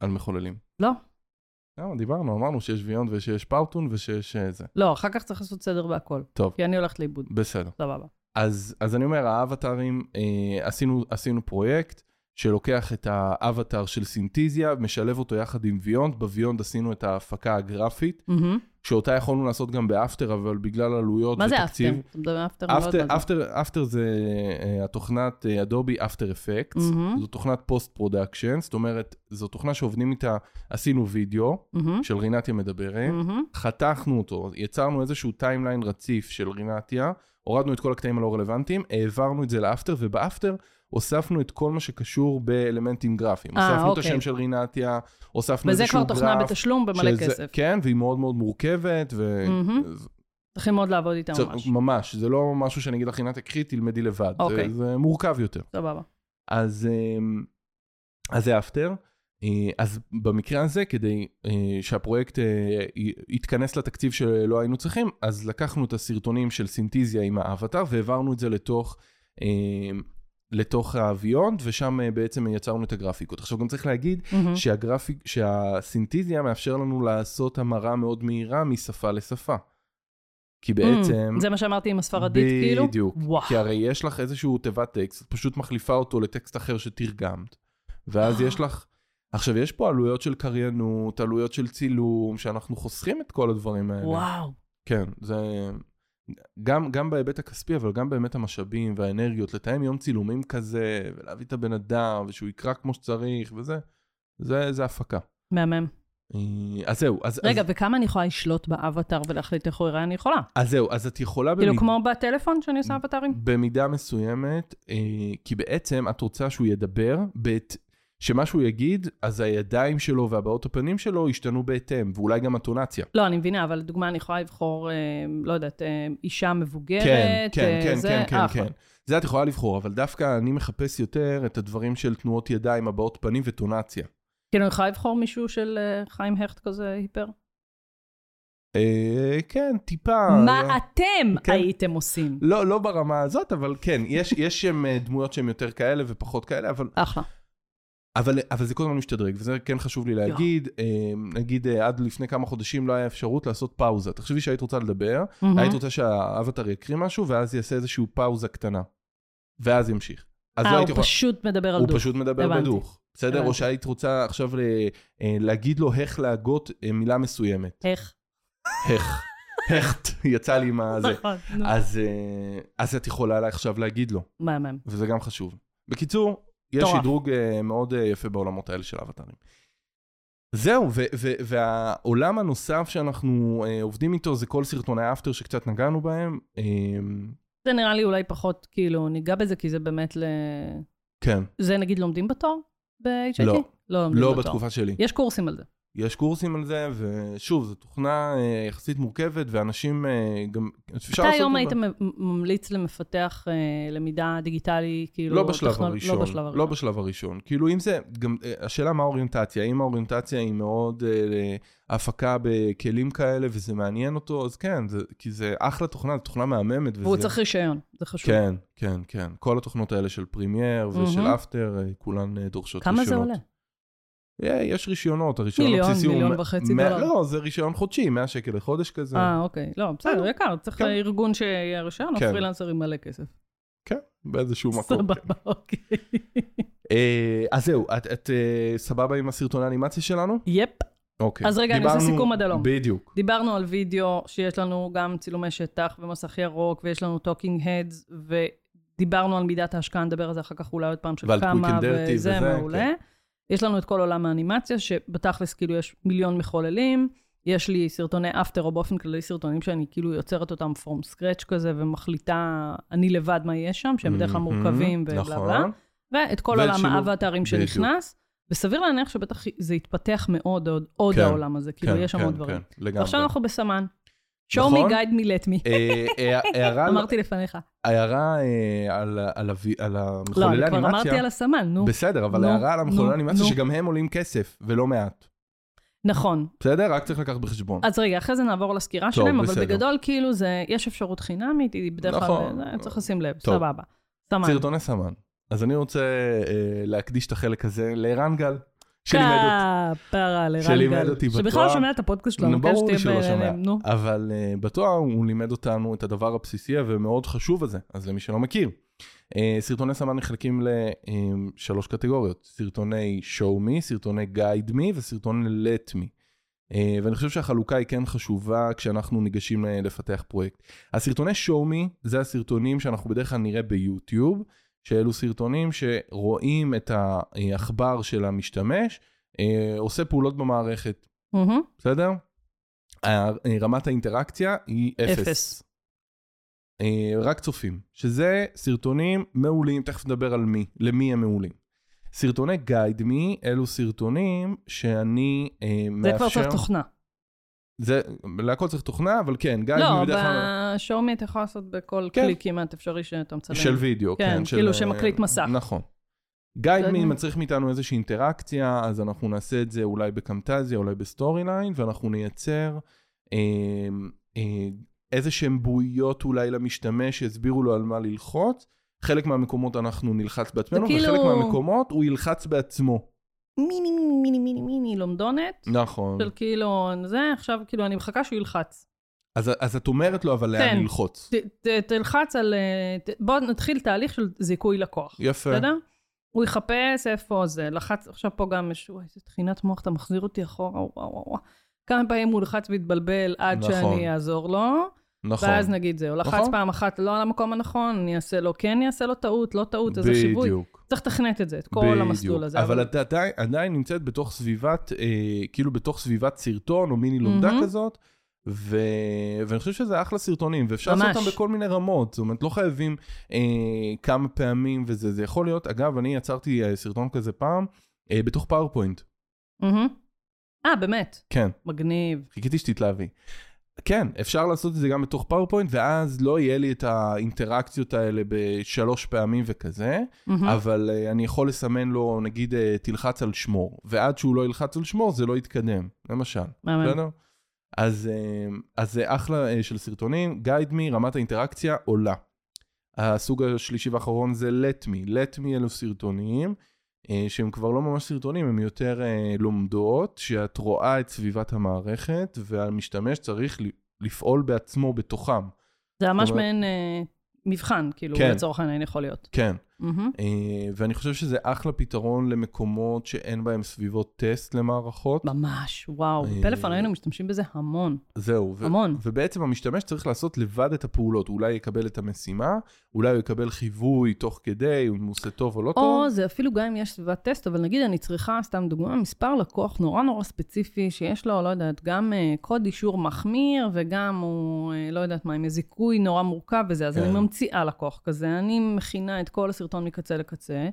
S2: על מחוללים.
S1: לא.
S2: למה? דיברנו, אמרנו שיש ויונד ושיש פאוטון ושיש אה, זה.
S1: לא, אחר כך צריך לעשות סדר בהכל.
S2: טוב.
S1: כי אני הולכת לאיבוד.
S2: בסדר.
S1: סבבה.
S2: אז, אז אני אומר, האבטארים, אה, עשינו, עשינו פרויקט שלוקח את האבטאר של סינטיזיה, משלב אותו יחד עם ויונד, בוויונד עשינו את ההפקה הגרפית,
S1: מהמם.
S2: שאותה יכולנו לעשות גם באפטר, אבל בגלל עלויות
S1: מה זה אפטר?
S2: ותקציב...
S1: אתה מדבר לא אפטר?
S2: אפטר, אפטר, אפטר זה אה, התוכנת אה, אדובי אפטר אפקט,
S1: מהמם.
S2: זו תוכנת פוסט פרודקשן, זאת אומרת, זו תוכנה שעובדים איתה, עשינו וידאו של רינתיה מדברת, חתכנו אותו, יצרנו איזשהו טיימליין רציף של רינתיה, הורדנו את כל הקטעים הלא רלוונטיים, העברנו את זה לאפטר, ובאפטר הוספנו את כל מה שקשור באלמנטים גרפיים.
S1: אה,
S2: הוספנו את
S1: אוקיי.
S2: השם של רינתיה, הוספנו
S1: וזה
S2: איזשהו
S1: כבר
S2: גרף.
S1: תוכנה בתשלום במלא
S2: שזה-
S1: כסף.
S2: כן, והיא מאוד מאוד מורכבת, ו...
S1: מהמם. צריכים מאוד לעבוד איתה
S2: צריך-
S1: ממש.
S2: ממש, זה לא משהו שאני אגיד לך, רינתיה, קחי, תלמדי לבד.
S1: אוקיי.
S2: זה, זה מורכב יותר.
S1: סבבה.
S2: אז, אמ, אז זה אפטר. אה, אז במקרה הזה, כדי אה, שהפרויקט אה, י- יתכנס לתקציב שלא היינו צריכים, אז לקחנו את הסרטונים של סינטיזיה עם האבטר והעברנו את זה לתוך, אמ, לתוך הוויונד, ושם אה, בעצם יצרנו את הגרפיקות. עכשיו גם צריך להגיד
S1: מהמם.
S2: שהגרפיק, שהסינטיזיה מאפשר לנו לעשות המרה מאוד מהירה משפה לשפה. כי בעצם...
S1: Mm, זה מה שאמרתי עם הספרדית, כאילו?
S2: בדיוק.
S1: וואו.
S2: כי הרי יש לך איזשהו תיבת טקסט, את פשוט מחליפה אותו לטקסט אחר שתרגמת. ואז יש לך... עכשיו, יש פה עלויות של קריינות, עלויות של צילום, שאנחנו חוסכים את כל הדברים האלה.
S1: וואו.
S2: כן, זה... גם, גם בהיבט הכספי, אבל גם באמת המשאבים והאנרגיות, לתאם יום צילומים כזה, ולהביא את הבן אדם, ושהוא יקרא כמו שצריך, וזה, זה, זה הפקה.
S1: מהמם.
S2: אה, אז זהו, אז,
S1: רגע,
S2: אז,
S1: וכמה אני יכולה לשלוט באבטר ולהחליט איך הוא יראה? אני יכולה.
S2: אז זהו, אז את יכולה...
S1: כאילו,
S2: במיד-
S1: כמו בטלפון שאני
S2: Mm.
S1: עושה אבטרים?
S2: במידה מסוימת, אה, כי בעצם את רוצה שהוא ידבר, בעת, שמה שהוא יגיד, אז הידיים שלו והבעות הפנים שלו ישתנו בהתאם, ואולי גם הטונציה.
S1: לא, אני מבינה, אבל לדוגמה, אני יכולה לבחור, אה, לא יודעת, אה, אישה מבוגרת,
S2: כן, כן,
S1: אה,
S2: כן,
S1: זה,
S2: כן, כן,
S1: אחלה.
S2: כן. זה את יכולה לבחור, אבל דווקא אני מחפש יותר את הדברים של תנועות ידיים, הבעות פנים וטונציה.
S1: כאילו, אני יכולה לבחור מישהו של אה, חיים הכט כזה היפר?
S2: אה, כן, טיפה.
S1: מה אתם
S2: כן.
S1: הייתם עושים?
S2: לא, לא ברמה הזאת, אבל כן, יש, יש שם אה, דמויות שהן יותר כאלה ופחות כאלה, אבל
S1: אחלה.
S2: אבל, אבל זה כל הזמן משתדרג, וזה כן חשוב לי להגיד. אמ, נגיד, אה, עד לפני כמה חודשים לא היה אפשרות לעשות פאוזה. תחשבי שהיית רוצה לדבר,
S1: מהמם.
S2: היית רוצה שהאבטר יקריא משהו, ואז יעשה איזושהי פאוזה קטנה. ואז ימשיך. אז לא
S1: אה,
S2: הייתי
S1: הוא
S2: יכולה...
S1: פשוט מדבר על
S2: הוא
S1: דוד.
S2: פשוט מדבר
S1: הבנתי.
S2: בדוך. בסדר?
S1: הבנתי.
S2: או שהיית רוצה עכשיו ל- אה, להגיד לו איך להגות אה, מילה מסוימת.
S1: איך?
S2: איך. הכט, יצא לי עם הזה.
S1: נכון. נו.
S2: אז, אה, אז את יכולה לה- עכשיו להגיד לו,
S1: מהמם.
S2: וזה גם חשוב. בקיצור, יש
S1: מטורף.
S2: שדרוג אה, מאוד אה, יפה בעולמות האלה של אבטרים. זהו, ו- ו- והעולם הנוסף שאנחנו אה, עובדים איתו זה כל סרטוני האפטר שקצת נגענו בהם. אה,
S1: זה נראה לי אולי פחות, כאילו, ניגע בזה, כי זה באמת ל...
S2: כן,
S1: זה נגיד לומדים בתואר ב-HIT?
S2: לא.
S1: לא לומדים
S2: לא
S1: בתואר.
S2: בתקופה שלי.
S1: יש קורסים על זה.
S2: יש קורסים על זה, ושוב, זו תוכנה אה, יחסית מורכבת, ואנשים אה, גם... אפשר
S1: אתה
S2: לעשות
S1: היום
S2: אותה.
S1: היית מ- ממליץ למפתח אה, למידה דיגיטלי, כאילו...
S2: לא בשלב
S1: טכנול-
S2: הראשון,
S1: לא בשלב הראשון.
S2: לא בשלב הראשון. כאילו אם זה, גם אה, השאלה מה האוריינטציה, אם האוריינטציה היא מאוד אה, הפקה בכלים כאלה וזה מעניין אותו, אז כן, זה, כי זה אחלה תוכנה, זו תוכנה מהממת.
S1: והוא
S2: וזה-
S1: צריך רישיון, זה חשוב.
S2: כן, כן, כן. כל התוכנות האלה של פרימייר ושל
S1: מהמם.
S2: אפטר, אה, כולן אה, דורשות רישיונות.
S1: כמה זה עולה?
S2: אה, יש רישיונות, הרישיון
S1: מיליון,
S2: הבסיסי הוא...
S1: מיליון
S2: מ-
S1: וחצי
S2: מ-
S1: דולר.
S2: לא, זה רישיון חודשי, 100 שקל לחודש כזה.
S1: אה, אוקיי. לא, בסדר,
S2: בסדר.
S1: יקר. צריך
S2: כן.
S1: ארגון שיהיה רישיון, או
S2: כן.
S1: פרילנסר עם מלא כסף.
S2: באיזשהו מקום. כן.
S1: סבבה, אוקיי.
S2: אה, אז זהו, את- את אה, סבבה עם הסרטון האנימציה שלנו?
S1: יפ.
S2: אוקיי.
S1: אז רגע, אני עושה
S2: דיברנו-
S1: סיכום עד הלום.
S2: בדיוק.
S1: דיברנו על וידאו, שיש לנו גם צילומי שטח ומסך ירוק, ויש לנו טוקינג הדס, ודיברנו על מידת ההשקעה, נדבר על זה אחר כך אולי עוד פעם של
S2: ועל
S1: כמה,
S2: Quick and Dirty
S1: וזה
S2: וזה,
S1: מעולה.
S2: כן.
S1: יש לנו את כל עולם האנימציה, שבתכלס כאילו יש מיליון מחוללים, יש לי סרטוני אפטר, או באופן כללי סרטונים שאני כאילו יוצרת אותם from scratch כזה, ומחליטה אני לבד מה יהיה שם, שהם בדרך כלל
S2: מהמם,
S1: מורכבים ובלה
S2: Mm-hmm. נכון.
S1: בלה. ואת כל
S2: ועל
S1: עולם
S2: שילוב-
S1: האבטרים
S2: בדיוק.
S1: שנכנס, וסביר להניח שבטח זה יתפתח מאוד עוד, עוד
S2: כן,
S1: העולם הזה, כאילו
S2: כן,
S1: יש שם
S2: כן,
S1: עוד דברים.
S2: כן, לגמרי.
S1: ועכשיו אנחנו בסמן. show me,
S2: נכון?
S1: guide me, let me.
S2: אה, אה, הערה-
S1: אמרתי לפניך.
S2: הערה אה, על ה- על ה- על
S1: לא,
S2: המחוללי
S1: אני כבר אמרתי
S2: אנימציה,
S1: על הסמן, נו.
S2: בסדר, אבל
S1: נו,
S2: הערה על המחוללי
S1: נו,
S2: אנימציה
S1: נו.
S2: שגם הם עולים כסף, ולא מעט.
S1: נכון.
S2: בסדר? רק צריך לקחת בחשבון.
S1: אז רגע, אחרי זה נעבור לסקירה
S2: טוב,
S1: שלהם, אבל
S2: בסדר.
S1: בגדול, כאילו, זה, יש אפשרות חינמית, היא בדרך
S2: נכון.
S1: כלל, צריך לשים לב,
S2: טוב.
S1: סבבה. סמן.
S2: סרטוני סמן. אז אני רוצה אה, להקדיש את החלק הזה לערן גל, שלימד אותי.
S1: כפרה לרן
S2: שלימד
S1: גל.
S2: אותי
S1: שבכלל
S2: בתואר.
S1: לא שומע את הפודקאסט שלנו,
S2: נו,
S1: כן,
S2: ברור לי
S1: שתהיה
S2: שלא
S1: בעניינים,
S2: שומע,
S1: נו.
S2: אבל אה, בתואר הוא לימד אותנו את הדבר הבסיסי ומאוד חשוב הזה, אז למי שלא מכיר. אה, סרטוני סמן נחלקים לשלוש קטגוריות, סרטוני show me, סרטוני guide me וסרטוני let me. אה, ואני חושב שהחלוקה היא כן חשובה כשאנחנו ניגשים אה, לפתח פרויקט. הסרטוני show me זה הסרטונים שאנחנו בדרך כלל נראה ביוטיוב, שאלו סרטונים שרואים את העכבר של המשתמש, אה, עושה פעולות במערכת.
S1: מהמם.
S2: בסדר? ה- אה, רמת האינטראקציה היא אפס.
S1: אפס.
S2: אה, רק צופים, שזה סרטונים מעולים, תכף נדבר על מי, למי הם מעולים. סרטוני גייד מי, אלו סרטונים שאני אה,
S1: זה
S2: מאפשר...
S1: כבר צריך תוכנה.
S2: זה, להכל צריך תוכנה, אבל כן, גייד
S1: לא,
S2: מי בדרך כלל...
S1: בשואומי אתה יכול לעשות בכל
S2: כן.
S1: כלי כמעט אפשרי שאתה מצלם.
S2: של וידאו, כן.
S1: כן,
S2: של,
S1: כאילו
S2: אה,
S1: שמקליט מסך.
S2: נכון. גייד
S1: Guide
S2: מי
S1: me.
S2: מצריך מאיתנו איזושהי אינטראקציה, אז אנחנו נעשה את זה אולי בקמטזיה, אולי בסטורי ליין, ואנחנו נייצר אה, אה, איזה שהן בועיות אולי למשתמש שיסבירו לו על מה ללחוץ. חלק מהמקומות אנחנו נלחץ בעצמנו,
S1: כאילו-
S2: וחלק מהמקומות הוא ילחץ בעצמו.
S1: מיני מיני מיני מיני מיני לומדונת,
S2: נכון.
S1: של כאילו, זה, עכשיו כאילו אני מחכה שהוא ילחץ.
S2: אז, אז את אומרת לו אבל לאן
S1: כן.
S2: ללחוץ.
S1: ת- ת- תלחץ על... אה, ת- בוא נתחיל תהליך של זיכוי לקוח.
S2: יפה.
S1: בסדר? הוא יחפש איפה זה, לחץ, עכשיו פה גם יש, וואי, איזה טחינת מוח, אתה מחזיר אותי אחורה, וואו וואו וואו. כמה פעמים הוא לחץ והתבלבל עד
S2: נכון.
S1: שאני אעזור לו,
S2: נכון.
S1: ואז נגיד זהו, לחץ
S2: נכון.
S1: פעם אחת לא על המקום הנכון, אני אעשה לו כן, אני אעשה לו טעות, לא טעות, איזה חיווי.
S2: בדיוק.
S1: צריך לתכנת את זה, את כל
S2: בדיוק.
S1: המסלול הזה.
S2: אבל את עדיין, עדיין נמצאת בתוך סביבת, אה, כאילו בתוך סביבת סרטון או מיני לומדה
S1: מהמם.
S2: כזאת, ו... ואני חושב שזה אחלה סרטונים, ואפשר לעשות
S1: ממש.
S2: אותם בכל מיני רמות, זאת אומרת, לא חייבים אה, כמה פעמים וזה, זה יכול להיות, אגב, אני יצרתי אה, סרטון כזה פעם, אה, בתוך פאורפוינט,
S1: מהמם. אה, באמת,
S2: כן,
S1: מגניב.
S2: חיכיתי שתתלהבי. כן, אפשר לעשות את זה גם בתוך פאורפוינט, ואז לא יהיה לי את האינטראקציות האלה בשלוש פעמים וכזה.
S1: מהמם.
S2: אבל אה, אני יכול לסמן לו, נגיד, אה, תלחץ על שמור, ועד שהוא לא ילחץ על שמור זה לא יתקדם, למשל,
S1: מהמם.
S2: בסדר? אז, אה, אז זה אחלה אה, של סרטונים, guide me, רמת האינטראקציה עולה. הסוג השלישי והאחרון זה let me, let me אלו סרטונים. אה, שהם כבר לא ממש סרטונים, הם יותר אה, לומדות, שאת רואה את סביבת המערכת, והמשתמש צריך ל- לפעול בעצמו בתוכם.
S1: זה ממש
S2: אומרת-
S1: מעין אה, מבחן, כאילו,
S2: כן.
S1: לצורך העניין יכול להיות.
S2: כן.
S1: מהמם.
S2: אה, ואני חושב שזה אחלה פתרון למקומות שאין בהם סביבות טסט למערכות.
S1: ממש, וואו.
S2: אה,
S1: בפלאפון היינו משתמשים בזה המון.
S2: זהו. ו-
S1: המון.
S2: ובעצם המשתמש צריך לעשות לבד את הפעולות. אולי יקבל את המשימה, אולי הוא יקבל חיווי תוך כדי, אם הוא עושה טוב או לא טוב.
S1: או זה אפילו גם אם יש סביבת טסט, אבל נגיד אני צריכה, סתם דוגמה, מספר לקוח נורא נורא ספציפי, שיש לו, לא יודעת, גם אה, קוד אישור מחמיר, וגם הוא, אה, לא יודעת מה, עם איזה זיכוי נורא מורכב וזה, אז
S2: כן.
S1: אני ממציאה לקוח כזה, אני מכינה את כל הסרטון מקצה לקצה,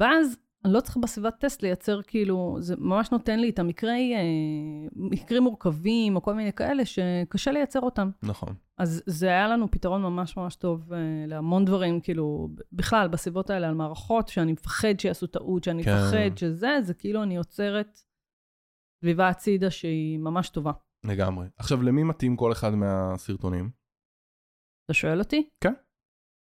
S1: ואז אני לא צריכה בסביבת טסט לייצר כאילו, זה ממש נותן לי את המקרי, אה, מקרים מורכבים, או כל מיני כאלה, שקשה לייצר אותם.
S2: נכון.
S1: אז זה היה לנו פתרון ממש ממש טוב אה, להמון דברים, כאילו, ב- בכלל, בסביבות האלה, על מערכות, שאני מפחד שיעשו טעות, שאני
S2: כן.
S1: מפחד שזה, זה כאילו אני יוצרת סביבה הצידה שהיא ממש טובה.
S2: לגמרי. עכשיו, למי מתאים כל אחד מהסרטונים?
S1: אתה שואל אותי?
S2: כן.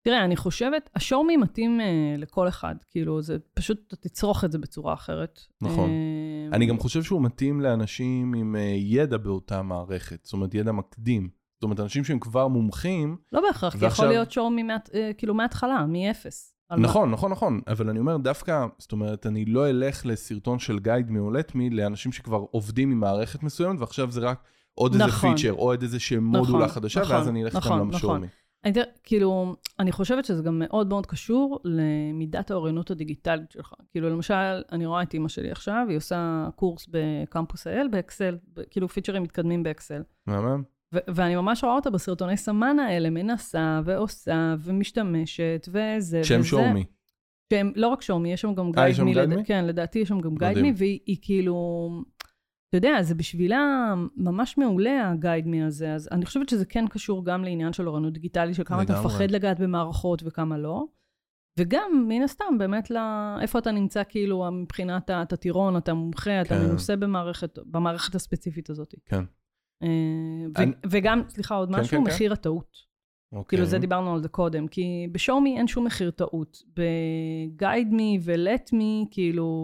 S1: תראה, אני חושבת, השורמי מתאים אה, לכל אחד, כאילו, זה פשוט, אתה תצרוך את זה בצורה אחרת.
S2: נכון.
S1: אה,
S2: אני גם חושב שהוא מתאים לאנשים עם אה, ידע באותה מערכת, זאת אומרת, ידע מקדים. זאת אומרת, אנשים שהם כבר מומחים,
S1: לא בהכרח, כי יכול
S2: ועכשיו-
S1: להיות שורמי, מה- אה, כאילו, מההתחלה, מאפס. על מה-
S2: נכון, נכון, נכון, אבל אני אומר דווקא, זאת אומרת, אני לא אלך לסרטון של גייד מעולט מי לאנשים שכבר עובדים עם מערכת מסוימת, ועכשיו זה רק עוד איזה
S1: נכון.
S2: פיצ'ר, או עוד איזה שהם מודולה
S1: נכון,
S2: חדשה,
S1: נכון,
S2: ואז אני אלך איתם
S1: נכון,
S2: למשורמי.
S1: אני תראה, כאילו, אני חושבת שזה גם מאוד מאוד קשור למידת האוריינות הדיגיטלית שלך. כאילו, למשל, אני רואה את אימא שלי עכשיו, היא עושה קורס בקמפוס האל, באקסל, ב- כאילו פיצ'רים מתקדמים באקסל.
S2: מהמם?
S1: ו- ואני ממש רואה אותה בסרטוני סמן האלה, מנסה ועושה ומשתמשת וזה
S2: שם
S1: וזה.
S2: שורמי.
S1: שהם לא רק שומי, יש שם גם
S2: אה, יש
S1: גייד
S2: שם
S1: מי.
S2: גייד
S1: לד-
S2: מי?
S1: כן, לדעתי יש שם גם גייד
S2: מדהים.
S1: מי, והיא היא כאילו... אתה יודע, זה בשבילה ממש מעולה הגייד מי הזה, אז אני חושבת שזה כן קשור גם לעניין של אוריינות דיגיטלית, של כמה אתה
S2: לגמרי.
S1: מפחד לגעת במערכות וכמה לא. וגם, מן הסתם, באמת, לא... איפה אתה נמצא, כאילו, מבחינת ה- אתה טירון, אתה מומחה, אתה
S2: כן.
S1: מנוסה במערכת, במערכת הספציפית הזאת.
S2: כן.
S1: אה, ו-
S2: אני-
S1: וגם, סליחה, עוד
S2: כן,
S1: משהו,
S2: כן, כן.
S1: מחיר הטעות.
S2: אוקיי.
S1: כאילו, זה דיברנו על זה קודם, כי בשומי אין שום מחיר טעות. ב-guide me ו-let me, כאילו,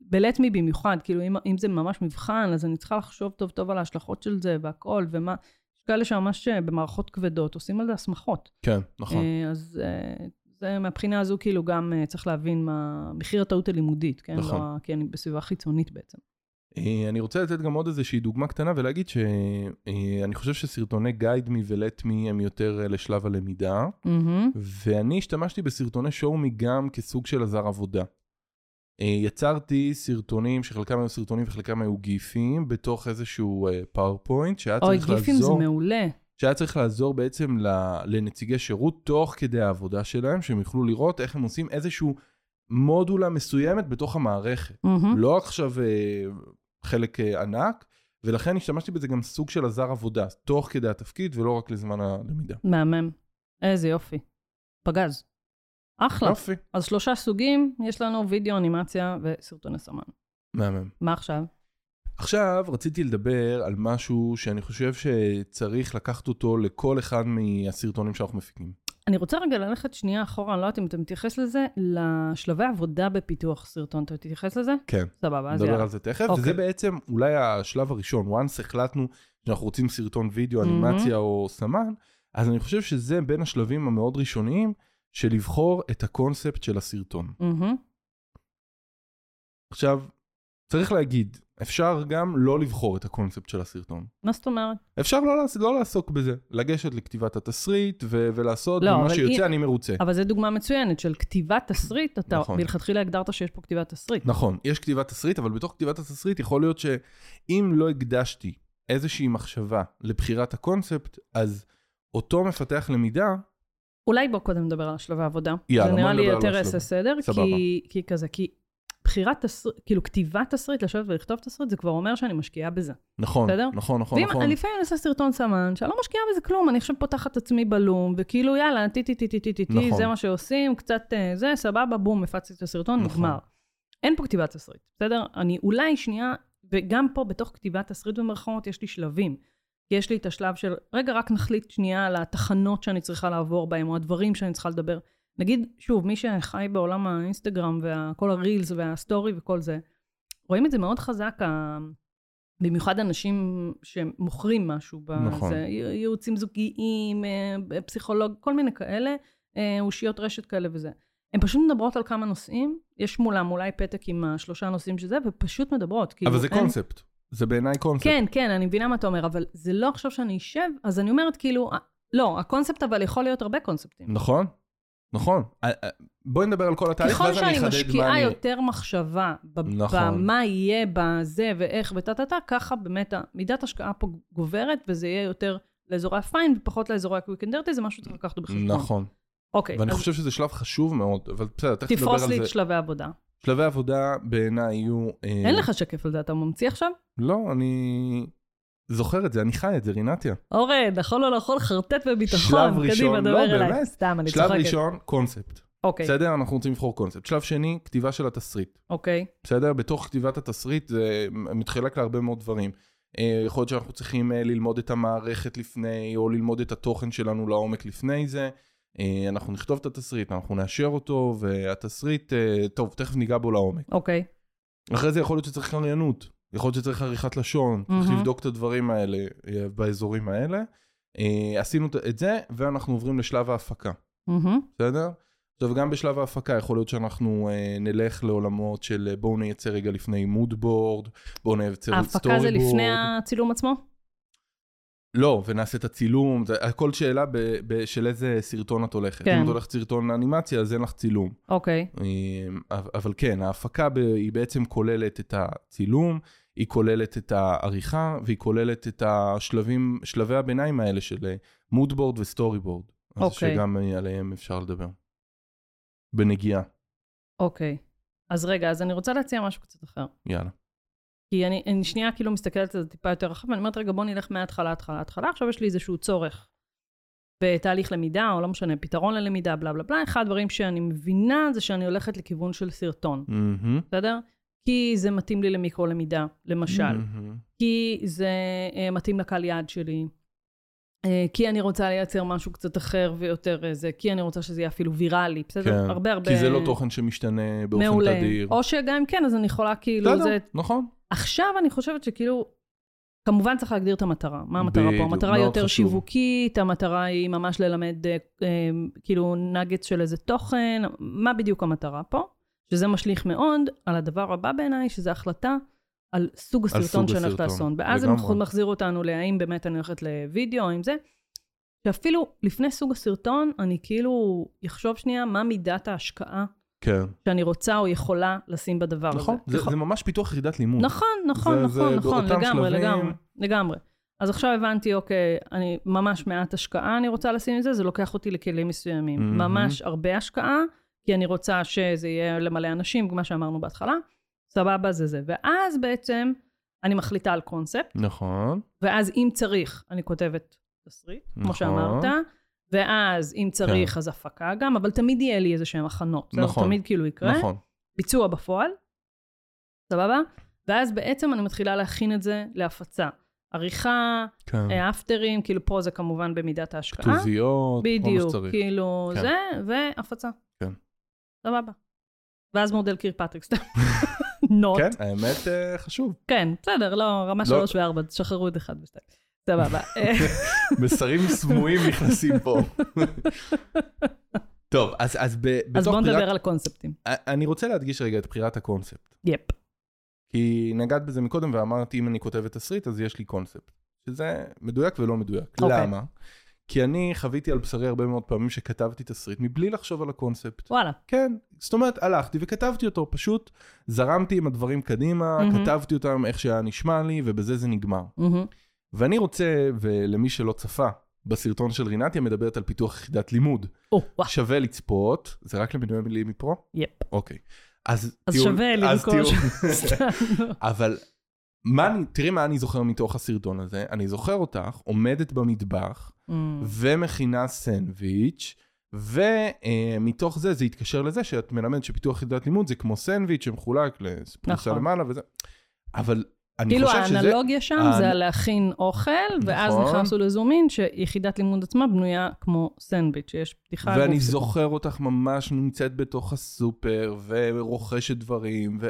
S1: ב-let me במיוחד, כאילו, אם, אם זה ממש מבחן, אז אני צריכה לחשוב טוב טוב על ההשלכות של זה והכל, ומה, יש כאלה שממש אה, במערכות כבדות עושים על זה הסמכות.
S2: כן, נכון.
S1: אה, אז אה, זה מהבחינה הזו, כאילו, גם אה, צריך להבין מה מחיר הטעות הלימודית, כן?
S2: נכון.
S1: לא ה- כי אני בסביבה חיצונית בעצם.
S2: אה, אני רוצה לתת גם עוד איזושהי דוגמה קטנה ולהגיד שאני חושב שסרטוני guide me ו-let me הם יותר אה, לשלב הלמידה, Mm-hmm. ואני השתמשתי בסרטוני show me גם כסוג של עזר עבודה. אה, יצרתי סרטונים שחלקם היו סרטונים וחלקם היו גיפים בתוך איזשהו אה, פאורפוינט שהיה
S1: אוי,
S2: צריך
S1: גיפים זה
S2: לעזור.
S1: מעולה.
S2: שהיה צריך לעזור בעצם ל- לנציגי שירות תוך כדי העבודה שלהם, שהם יוכלו לראות איך הם עושים איזשהו מודולה מסוימת בתוך המערכת.
S1: מהמם.
S2: לא עכשיו אה, חלק אה, ענק, ולכן השתמשתי בזה גם סוג של עזר עבודה, תוך כדי התפקיד ולא רק לזמן הלמידה.
S1: מהמם. איזה יופי. פגז. אחלה.
S2: יופי,
S1: אז שלושה סוגים, יש לנו וידאו, אנימציה וסרטוני סמן.
S2: מהמם.
S1: מה עכשיו?
S2: עכשיו רציתי לדבר על משהו שאני חושב שצריך לקחת אותו לכל אחד מהסרטונים שאנחנו מפיקים.
S1: אני רוצה רגע ללכת שנייה אחורה, אני לא יודעת אם אתה מתייחס לזה, לשלבי עבודה בפיתוח סרטון. אתה תתייחס לזה?
S2: כן.
S1: סבבה, אז
S2: נדבר
S1: יאללה.
S2: על זה תכף,
S1: אוקיי.
S2: וזה בעצם אולי השלב הראשון, once החלטנו שאנחנו רוצים סרטון וידאו,
S1: מהמם.
S2: אנימציה או סמן, אז אני חושב שזה בין השלבים המאוד ראשוניים של לבחור את הקונספט של הסרטון.
S1: מהמם.
S2: עכשיו, צריך להגיד, אפשר גם לא לבחור את הקונספט של הסרטון.
S1: מה זאת אומרת?
S2: אפשר לא, לעס- לא לעסוק בזה, לגשת לכתיבת התסריט ו- ולעשות,
S1: לא,
S2: לא,
S1: אבל
S2: ומה שיוצא
S1: אם-
S2: אני מרוצה.
S1: אבל זו דוגמה מצוינת של כתיבת תסריט, אתה
S2: נכון.
S1: מלכתחילה הגדרת שיש פה כתיבת תסריט.
S2: נכון, יש כתיבת תסריט, אבל בתוך כתיבת התסריט יכול להיות שאם לא הקדשתי איזושהי מחשבה לבחירת הקונספט, אז אותו מפתח למידה,
S1: אולי בוא קודם נדבר על שלבי העבודה.
S2: יאללה,
S1: זה
S2: בוא
S1: נראה לי
S2: נדבר על
S1: יותר
S2: השלב.
S1: עשה סדר,
S2: סבבה.
S1: כי, כי כזה, כי בחירת תסריט, כאילו כתיבת תסריט, לשבת ולכתוב תסריט, זה כבר אומר שאני משקיעה בזה.
S2: נכון,
S1: בסדר?
S2: נכון, נכון,
S1: ואם
S2: נכון,
S1: אני לפעמים אני עושה סרטון סמן, שאני לא משקיעה בזה כלום, אני עכשיו פותחת עצמי בלום, וכאילו יאללה, טי טי טי טי טי טי טי,
S2: נכון.
S1: זה מה שעושים, קצת אה, זה, סבבה, בום, הפצתי את הסרטון,
S2: נכון.
S1: נגמר. אין פה כתיבת תסריט, בסדר? אני אולי שנייה, וגם פה בתוך כתיבת תסריט במרכאות יש לי שלבים. כי יש לי את השלב של, רגע, רק נחליט שנייה על התחנות שאני צריכה לעבור בהן, או הדברים שאני צריכה לדבר. נגיד, שוב, מי שחי בעולם האינסטגרם וכל הרילס והסטורי וכל זה, רואים את זה מאוד חזק, ה... במיוחד אנשים שמוכרים משהו בזה,
S2: נכון.
S1: ייעוצים זוגיים, אה, פסיכולוג, כל מיני כאלה, אה, אושיות רשת כאלה וזה. הן פשוט מדברות על כמה נושאים, יש מולם אולי פתק עם השלושה נושאים שזה, ופשוט מדברות. כאילו,
S2: אבל זה
S1: אין-
S2: קונספט, זה בעיניי קונספט.
S1: כן, כן, אני מבינה מה אתה אומר, אבל זה לא עכשיו שאני אשב, אז אני אומרת כאילו, אה, לא, הקונספט אבל יכול להיות הרבה קונספטים.
S2: נכון, נכון. אה, אה, בואי נדבר על כל התהליך,
S1: ככל
S2: ואז אני
S1: שאני
S2: אחדד מה
S1: משקיעה
S2: אני...
S1: יותר מחשבה, ב-
S2: נכון.
S1: במה יהיה, בזה ואיך וטה טה טה, ככה באמת ה- מידת השקעה פה גוברת, וזה יהיה יותר לאזורי הפיין ופחות לאזורי הקוויק אנד דרטי, זה משהו שצריך לקחת בחשבון.
S2: נכון,
S1: אוקיי,
S2: ואני
S1: אז
S2: חושב שזה שלב חשוב מאוד, אבל בסדר, תכף נדבר על
S1: תפרוס לי את
S2: זה.
S1: שלבי העבודה.
S2: שלבי עבודה בעיניי יהיו... אה,
S1: אין לך שקף על זה, אתה ממציא עכשיו?
S2: לא, אני זוכר את זה, אני חי את זה, רינתיה.
S1: אורן, נכון או לא יכול, חרטט
S2: שלב
S1: וביטחון. קדימה,
S2: ראשון,
S1: דבר
S2: לא,
S1: אליי.
S2: באמת.
S1: סתם, אני
S2: שלב
S1: צוחקת.
S2: ראשון, קונספט.
S1: אוקיי,
S2: בסדר? אנחנו רוצים לבחור קונספט. שלב שני, כתיבה של התסריט.
S1: אוקיי.
S2: בסדר? בתוך כתיבת התסריט זה מתחלק להרבה מאוד דברים. אה, יכול להיות שאנחנו צריכים אה, ללמוד את המערכת לפני, או ללמוד את התוכן שלנו לעומק לפני זה. אה, אנחנו נכתוב את התסריט, אנחנו נאשר אותו, והתסריט, אה, טוב, תכף ניגע בו לעומק.
S1: אוקיי.
S2: אחרי זה יכול להיות שצריך קריינות, יכול להיות שצריך עריכת לשון, צריך
S1: מהמם.
S2: לבדוק את הדברים האלה אה, באזורים האלה. אה, עשינו את זה, ואנחנו עוברים לשלב ההפקה.
S1: מהמם.
S2: בסדר? עכשיו, גם בשלב ההפקה יכול להיות שאנחנו אה, נלך לעולמות של אה, בואו נייצר רגע לפני מוד בורד, בואו נייצר סטורי בורד.
S1: ההפקה זה לפני הצילום עצמו?
S2: לא, ונעשה את הצילום, זה הכל שאלה ב, ב, של איזה סרטון את הולכת.
S1: כן.
S2: אם את הולכת סרטון אנימציה, אז אין לך צילום.
S1: אוקיי.
S2: אה, אבל- אבל כן, ההפקה ב, היא בעצם כוללת את הצילום, היא כוללת את העריכה, והיא כוללת את השלבים, שלבי הביניים האלה של אה, מוד בורד וסטורי בורד. אז
S1: אוקיי.
S2: שגם אה, עליהם אפשר לדבר. בנגיעה.
S1: אוקיי. אז רגע, אז אני רוצה להציע משהו קצת אחר.
S2: יאללה.
S1: כי אני, אני שנייה כאילו מסתכלת על זה טיפה יותר רחב, ואני אומרת, רגע, בוא נלך מההתחלה, התחלה, התחלה, עכשיו יש לי איזשהו צורך. בתהליך למידה, או לא משנה, פתרון ללמידה, בלה בלה בלה, אחד הדברים שאני מבינה זה שאני הולכת לכיוון של סרטון,
S2: מהמם.
S1: בסדר? כי זה מתאים לי למיקרו-למידה, למשל.
S2: מהמם.
S1: כי זה אה, מתאים לקהל יעד שלי, אה, כי אני רוצה לייצר משהו קצת אחר ויותר אה, זה, כי אני רוצה שזה יהיה אפילו ויראלי, בסדר?
S2: כן,
S1: הרבה הרבה...
S2: כי זה לא תוכן שמשתנה באופן
S1: מעולה.
S2: תדיר.
S1: או שגם אם כן, אז אני יכולה כאילו...
S2: בסדר,
S1: זה...
S2: נכון.
S1: עכשיו אני חושבת שכאילו... כמובן צריך להגדיר את המטרה. מה המטרה פה?
S2: בדיוק,
S1: המטרה
S2: מאוד
S1: יותר
S2: חשוב.
S1: שיווקית, המטרה היא ממש ללמד אה, אה, כאילו נגץ של איזה תוכן, מה בדיוק המטרה פה? שזה משליך מאוד על הדבר הבא בעיניי, שזה החלטה על סוג
S2: על
S1: הסרטון
S2: סוג
S1: שאני הולכת
S2: הסרטון,
S1: לעשות. ואז זה
S2: לגמרי.
S1: מחזיר- מחזיר אותנו להאם באמת אני הולכת לוידאו, האם זה. שאפילו לפני סוג הסרטון, אני כאילו אחשוב שנייה מה מידת ההשקעה
S2: כן.
S1: שאני רוצה או יכולה לשים בדבר
S2: נכון,
S1: הזה.
S2: זה זה ממש פיתוח יחידת לימוד.
S1: נכון, נכון,
S2: זה-
S1: נכון,
S2: זה
S1: נכון,
S2: באותם
S1: לגמרי,
S2: שלבים.
S1: לגמרי, לגמרי. אז עכשיו הבנתי, אוקיי, אני ממש מעט השקעה אני רוצה לשים את זה, זה לוקח אותי לכלים מסוימים.
S2: מהמם.
S1: ממש הרבה השקעה, כי אני רוצה שזה יהיה למלא אנשים, כמו שאמרנו בהתחלה. סבבה, זה זה. ואז בעצם אני מחליטה על קונספט,
S2: נכון.
S1: ואז אם צריך, אני כותבת תסריט, כמו
S2: נכון. כן.
S1: שאמרת, ואז אם צריך, אז הפקה גם, אבל תמיד יהיה לי איזה שהם הכנות. בסדר?
S2: נכון.
S1: תמיד כאילו יקרה.
S2: נכון.
S1: ביצוע בפועל, סבבה? ואז בעצם אני מתחילה להכין את זה להפצה. עריכה,
S2: כן.
S1: אה, אפטרים, כאילו פה זה כמובן במידת ההשקעה.
S2: כתוביות, כל מה
S1: בדיוק,
S2: שצריך.
S1: כאילו
S2: כן.
S1: זה, והפצה.
S2: כן.
S1: סבבה. ואז מודל kirkpatrick סתם. נוט.
S2: כן, האמת אה, חשוב.
S1: כן, בסדר, לא, רמה
S2: לא.
S1: שלוש וארבע, תשחררו את אחד ושתיים. סבבה. אה,
S2: מסרים סמויים נכנסים פה. טוב, אז, אז, ב,
S1: אז
S2: בתוך
S1: בואו
S2: בחירת...
S1: נדבר על קונספטים.
S2: אני רוצה להדגיש רגע את בחירת הקונספט.
S1: יפ.
S2: כי נגעת בזה מקודם ואמרת, אם אני כותבת תסריט, אז יש לי קונספט. שזה מדויק ולא מדויק.
S1: אוקיי.
S2: למה? כי אני חוויתי על בשרי הרבה מאוד פעמים שכתבתי תסריט מבלי לחשוב על הקונספט.
S1: וואלה.
S2: כן, זאת אומרת, הלכתי וכתבתי אותו, פשוט זרמתי עם הדברים קדימה,
S1: מהמם.
S2: כתבתי אותם איך שהיה נשמע לי, ובזה זה נגמר.
S1: מהמם.
S2: ואני רוצה, ולמי שלא צפה, בסרטון של רינתיה מדברת על פיתוח יחידת לימוד.
S1: או, וואו.
S2: שווה לצפות, זה רק למנוי מילים מפרו?
S1: יפ.
S2: אוקיי. אז
S1: אז
S2: תהיו-
S1: שווה
S2: אז
S1: לרכוש.
S2: תהיו-
S1: סתם.
S2: אבל מה אני, תראי מה אני זוכר מתוך הסרטון הזה. אני זוכר אותך עומדת במטבח
S1: מהמם.
S2: ומכינה סנדוויץ', ומתוך זה זה התקשר לזה שאת מלמדת שפיתוח יחידת לימוד זה כמו סנדוויץ' שמחולק לפרוסה
S1: נכון.
S2: למעלה וזה. אבל אני
S1: כאילו
S2: חושב שזה...
S1: האנלוגיה שם
S2: האנ-
S1: זה על להכין אוכל, ואז
S2: נכון.
S1: נכנסנו לזומין, שיחידת לימוד עצמה בנויה כמו סנדוויץ', שיש פתיחה...
S2: ואני
S1: והופסקה.
S2: זוכר אותך ממש נמצאת בתוך הסופר ורוכשת דברים, ו...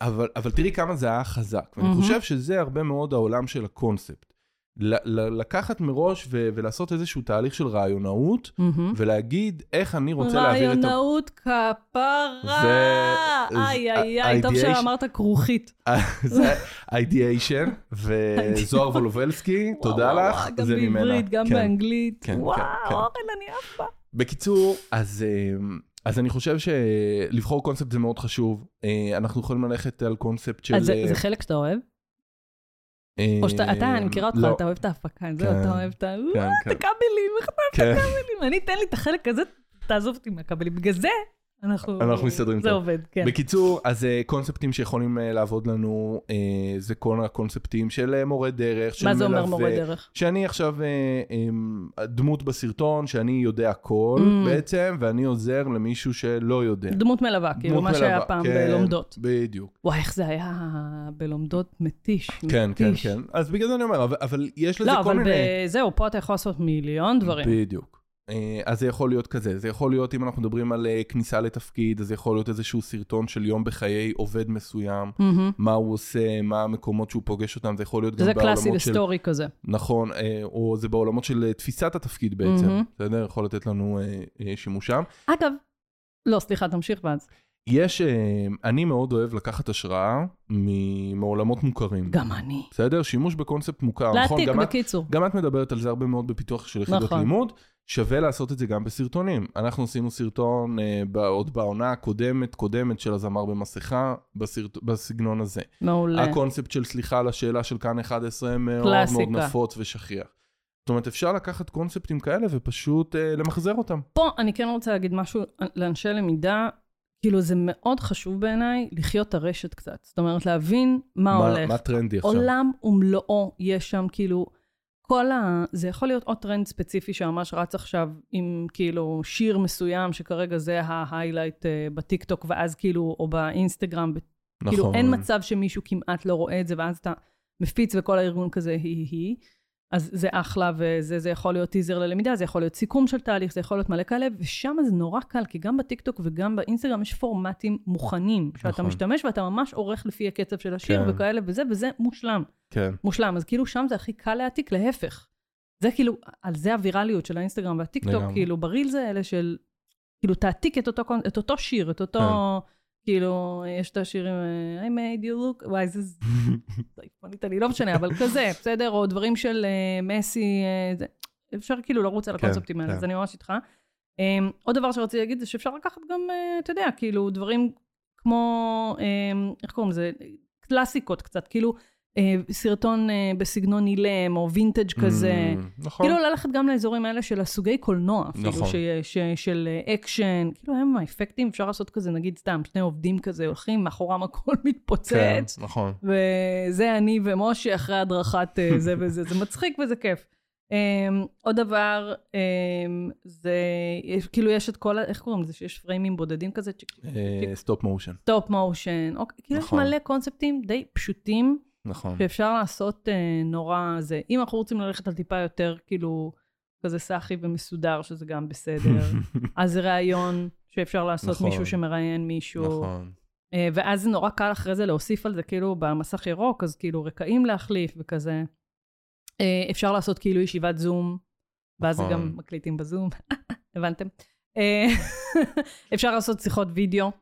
S2: אבל, אבל תראי כמה זה היה חזק. ואני
S1: מהמם.
S2: חושב שזה הרבה מאוד העולם של הקונספט. ל- ל- לקחת מראש ו- ולעשות איזשהו תהליך של רעיונאות,
S1: מהמם.
S2: ולהגיד איך אני רוצה להעביר את ה...
S1: רעיונאות כפרה!
S2: ו-
S1: איי איי איי,
S2: ה-
S1: טוב
S2: ה-
S1: שאמרת כרוכית.
S2: זה ideation, וזוהר וולובלסקי, תודה
S1: וואו, וואו,
S2: לך,
S1: גם
S2: זה ממנה.
S1: בעברית, גם
S2: כן.
S1: באנגלית.
S2: כן,
S1: וואו,
S2: כן, כן.
S1: אורן, אני עפה.
S2: בקיצור, אז, אמ, אז אני חושב שלבחור קונספט זה מאוד חשוב. אה, אנחנו יכולים ללכת על קונספט של...
S1: אז זה- זה חלק שאתה אוהב?
S2: אה,
S1: או שאתה, אתה, אני מכירה אותך,
S2: לא,
S1: אתה אוהב את ההפקה, זהו,
S2: כן.
S1: אתה אוהב את ה...
S2: כן, כן,
S1: הכבלים, איך אתה
S2: כן.
S1: כבלים? אני, תן לי את החלק הזה, תעזוב אותי מהכבלים. בגלל זה, אנחנו...
S2: אנחנו מסתדרים
S1: זה
S2: טוב.
S1: עובד, כן.
S2: בקיצור, אז אה, קונספטים שיכולים אה, לעבוד לנו, אה, זה כל הקונספטים של אה, מורה דרך, של
S1: מה
S2: מלווה.
S1: זה אומר מורה דרך?
S2: שאני עכשיו אה, אה, דמות בסרטון, שאני יודע הכל
S1: Mm.
S2: בעצם, ואני עוזר למישהו שלא יודע.
S1: דמות מלווה, כאילו,
S2: כן. דמות
S1: מה שהיה
S2: מלווה,
S1: פעם
S2: כן,
S1: בלומדות.
S2: בדיוק.
S1: וואי, איך זה היה בלומדות מתיש.
S2: כן, כן,
S1: מתיש.
S2: כן. אז בגלל זה אני אומר, אבל, אבל יש לזה
S1: לא,
S2: כל
S1: אבל
S2: מיני...
S1: ב- זהו, פה אתה יכול לעשות מיליון דברים.
S2: בדיוק. אה, אז זה יכול להיות כזה, זה יכול להיות אם אנחנו מדברים על אה, כניסה לתפקיד, אז זה יכול להיות איזשהו סרטון של יום בחיי עובד מסוים,
S1: מהמם.
S2: מה הוא עושה, מה המקומות שהוא פוגש אותם, זה יכול להיות גם
S1: זה
S2: בעולמות של...
S1: קלאסי לסטורי כזה.
S2: נכון, אה, או זה בעולמות של אה, תפיסת התפקיד בעצם,
S1: מהמם.
S2: בסדר? יכול לתת לנו אה, אה, שימוש שם.
S1: אגב, לא, סליחה, תמשיך
S2: כן.
S1: ואז.
S2: יש, אה, אני מאוד אוהב לקחת השראה מ- מעולמות מוכרים.
S1: גם אני.
S2: בסדר? שימוש בקונספט מוכר, נכון?
S1: להעתיק,
S2: גם את
S1: בקיצור.
S2: גם את מדברת על זה הרבה מאוד בפיתוח של יחידות
S1: נכון.
S2: נכון. לימוד, שווה לעשות את זה גם בסרטונים. אנחנו עשינו סרטון אה, בא- עוד בעונה הקודמת, קודמת של הזמר במסכה, בסרט, בסגנון הזה.
S1: מעולה.
S2: הקונספט של סליחה על השאלה של כאן 11 מאוד
S1: קלאסיקה.
S2: מאוד נפוץ ושכיח. זאת אומרת, אפשר לקחת קונספטים כאלה ופשוט אה, למחזר אותם.
S1: פה אני כן רוצה להגיד משהו לאנשי למידה. כאילו, זה מאוד חשוב בעיניי לחיות את הרשת קצת. זאת אומרת, להבין מה הולך.
S2: מה טרנדי עכשיו?
S1: עולם ומלואו יש שם, כאילו, כל ה... זה יכול להיות עוד טרנד ספציפי שממש רץ עכשיו עם כאילו שיר מסוים, שכרגע זה ההיילייט אה, בטיקטוק, ואז כאילו, או באינסטגרם, ו-
S2: נכון.
S1: כאילו אין מצב שמישהו כמעט לא רואה את זה, ואז אתה מפיץ וכל הארגון כזה היא היא היא. אז זה אחלה, וזה זה יכול להיות טיזר ללמידה, זה יכול להיות סיכום של תהליך, זה יכול להיות מלא כאלה, ושם זה נורא קל, כי גם בטיקטוק וגם באינסטגרם יש פורמטים מוכנים, שאתה
S2: נכון.
S1: משתמש ואתה ממש עורך לפי הקצב של השיר
S2: כן.
S1: וכאלה וזה, וזה מושלם.
S2: כן.
S1: מושלם. אז כאילו שם זה הכי קל להעתיק, להפך. זה כאילו, על זה הווירליות של האינסטגרם והטיקטוק,
S2: לגמרי.
S1: כאילו ברילס האלה של, כאילו תעתיק את אותו, קונ- את אותו שיר, את אותו,
S2: כן.
S1: כאילו, יש את השירים, אה, I made you look, וואי, זה פנית לי, לא משנה, אבל כזה, בסדר? או דברים של אה, מסי, אה, זה. אפשר כאילו לרוץ על
S2: כן,
S1: הקונספטים האלה,
S2: כן.
S1: אז אני ממש איתך. אה, עוד דבר שרציתי להגיד זה שאפשר לקחת גם, אה, אתה יודע, כאילו, דברים כמו, אה, איך קוראים לזה? קלאסיקות קצת, כאילו, אה, סרטון אה, בסגנון אילם, או וינטג' כזה.
S2: Mm, נכון.
S1: כאילו ללכת גם לאזורים האלה של הסוגי קולנוע, אפילו,
S2: נכון.
S1: נכון. ש, ש, של אה, אקשן, כאילו הם האפקטים, אפשר לעשות כזה, נגיד סתם, שני עובדים כזה הולכים, מאחורם הכל
S2: כן,
S1: מתפוצץ,
S2: נכון.
S1: וזה אני ומשה אחרי הדרכת אה, זה וזה, זה מצחיק וזה כיף. Um, עוד דבר, um, זה, יש, כאילו יש את כל, ה- איך קוראים לזה, שיש פריימים בודדים כזה, כאילו-
S2: אה, סטופ מושן.
S1: טופ מושן, אוקיי, כאילו יש
S2: נכון.
S1: מלא קונספטים די פשוטים,
S2: נכון.
S1: שאפשר לעשות אה, נורא זה. אם אנחנו רוצים ללכת על טיפה יותר, כאילו, כזה סאחי ומסודר, שזה גם בסדר, אז זה ראיון שאפשר לעשות
S2: נכון.
S1: מישהו שמראיין מישהו.
S2: נכון.
S1: אה, ואז זה נורא קל אחרי זה להוסיף על זה כאילו במסך ירוק, אז כאילו רקעים להחליף וכזה. אה, אפשר לעשות כאילו ישיבת זום, ואז
S2: נכון.
S1: גם מקליטים בזום, הבנתם? אה, אפשר לעשות שיחות וידאו,